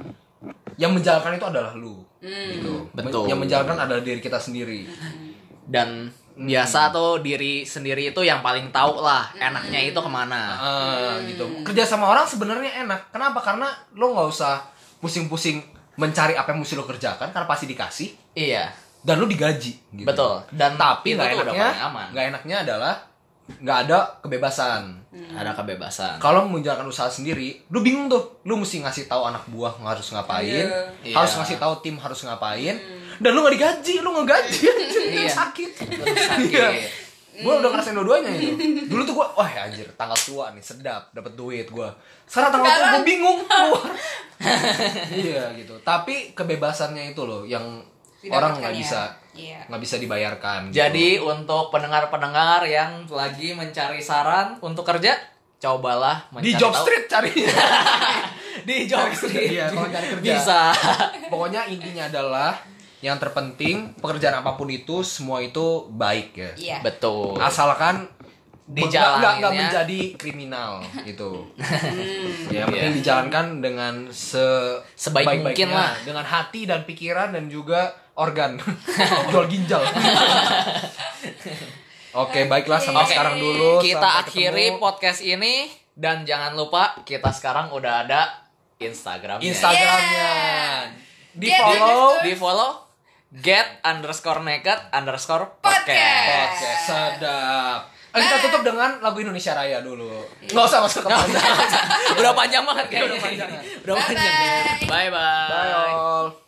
Speaker 2: yang menjalankan itu adalah lu gitu
Speaker 1: Betul.
Speaker 2: yang menjalankan adalah diri kita sendiri Hmm.
Speaker 1: dan biasa tuh diri sendiri itu yang paling tahu lah enaknya itu kemana
Speaker 2: Ah, gitu kerja sama orang sebenarnya enak kenapa karena lo nggak usah pusing-pusing mencari apa yang mesti lo kerjakan karena pasti dikasih
Speaker 1: iya
Speaker 2: dan lo digaji gitu.
Speaker 1: betul dan
Speaker 2: tapi
Speaker 1: itu
Speaker 2: nggak
Speaker 1: tuh udah
Speaker 2: enaknya
Speaker 1: paling aman
Speaker 2: nggak enaknya adalah nggak ada kebebasan
Speaker 1: ada kebebasan
Speaker 2: kalau menjalankan usaha sendiri lu bingung tuh lu mesti ngasih tahu anak buah harus ngapain
Speaker 1: Iya.
Speaker 2: harus
Speaker 1: Iya.
Speaker 2: ngasih tahu tim harus ngapain
Speaker 3: Hmm.
Speaker 2: dan lu nggak digaji lu nggak gaji anjir, kan
Speaker 1: Iya.
Speaker 2: sakit
Speaker 1: sakit.
Speaker 2: Iya. Gua
Speaker 3: Hmm.
Speaker 2: udah ngerasain dua-duanya itu dulu tuh gue wah anjir tanggal tua nih sedap dapat duit gua sekarang tanggal tua gue bingung keluar iya gitu tapi kebebasannya itu loh yang
Speaker 3: Didapatkan
Speaker 2: orang nggak
Speaker 3: ya.
Speaker 2: bisa
Speaker 3: Iya.
Speaker 2: nggak bisa dibayarkan gitu.
Speaker 1: Jadi untuk pendengar-pendengar yang lagi mencari saran untuk kerja, cobalah
Speaker 2: di
Speaker 1: mencari
Speaker 2: job
Speaker 1: tahu-
Speaker 2: street carinya
Speaker 1: di job street.
Speaker 2: Iya, kalau cari kerja.
Speaker 1: Bisa.
Speaker 2: Pokoknya intinya adalah yang terpenting pekerjaan apapun itu semua itu baik ya.
Speaker 3: Iya.
Speaker 1: Betul.
Speaker 2: Asalkan
Speaker 1: Dijalaninnya.
Speaker 2: nggak- nggak nggak
Speaker 1: ya.
Speaker 2: menjadi kriminal gitu. ya, yang penting
Speaker 1: Iya.
Speaker 2: dijalankan dengan se
Speaker 1: Sebaik
Speaker 2: baik-baiknya,
Speaker 1: mungkin lah.
Speaker 2: dengan hati dan pikiran dan juga organ. Jual ginjal. Oke, baiklah sampai
Speaker 1: Oke.
Speaker 2: sekarang dulu.
Speaker 1: Kita
Speaker 2: Sampai
Speaker 1: akhiri
Speaker 2: ketemu.
Speaker 1: podcast ini dan jangan lupa kita sekarang udah ada Instagramnya.
Speaker 2: Instagramnya. Di
Speaker 3: Get
Speaker 2: follow.
Speaker 1: Di follow get underscore naked underscore
Speaker 3: Podcast.
Speaker 1: podcast.
Speaker 2: Oke, sedap. Eh, kita tutup dengan lagu Indonesia Raya dulu. Nggak usah masuk ke panjang.
Speaker 1: udah panjang banget kayaknya.
Speaker 2: Udah panjang.
Speaker 1: Udah panjang.
Speaker 3: Bye-bye.
Speaker 1: Bye bye.
Speaker 2: Bye all.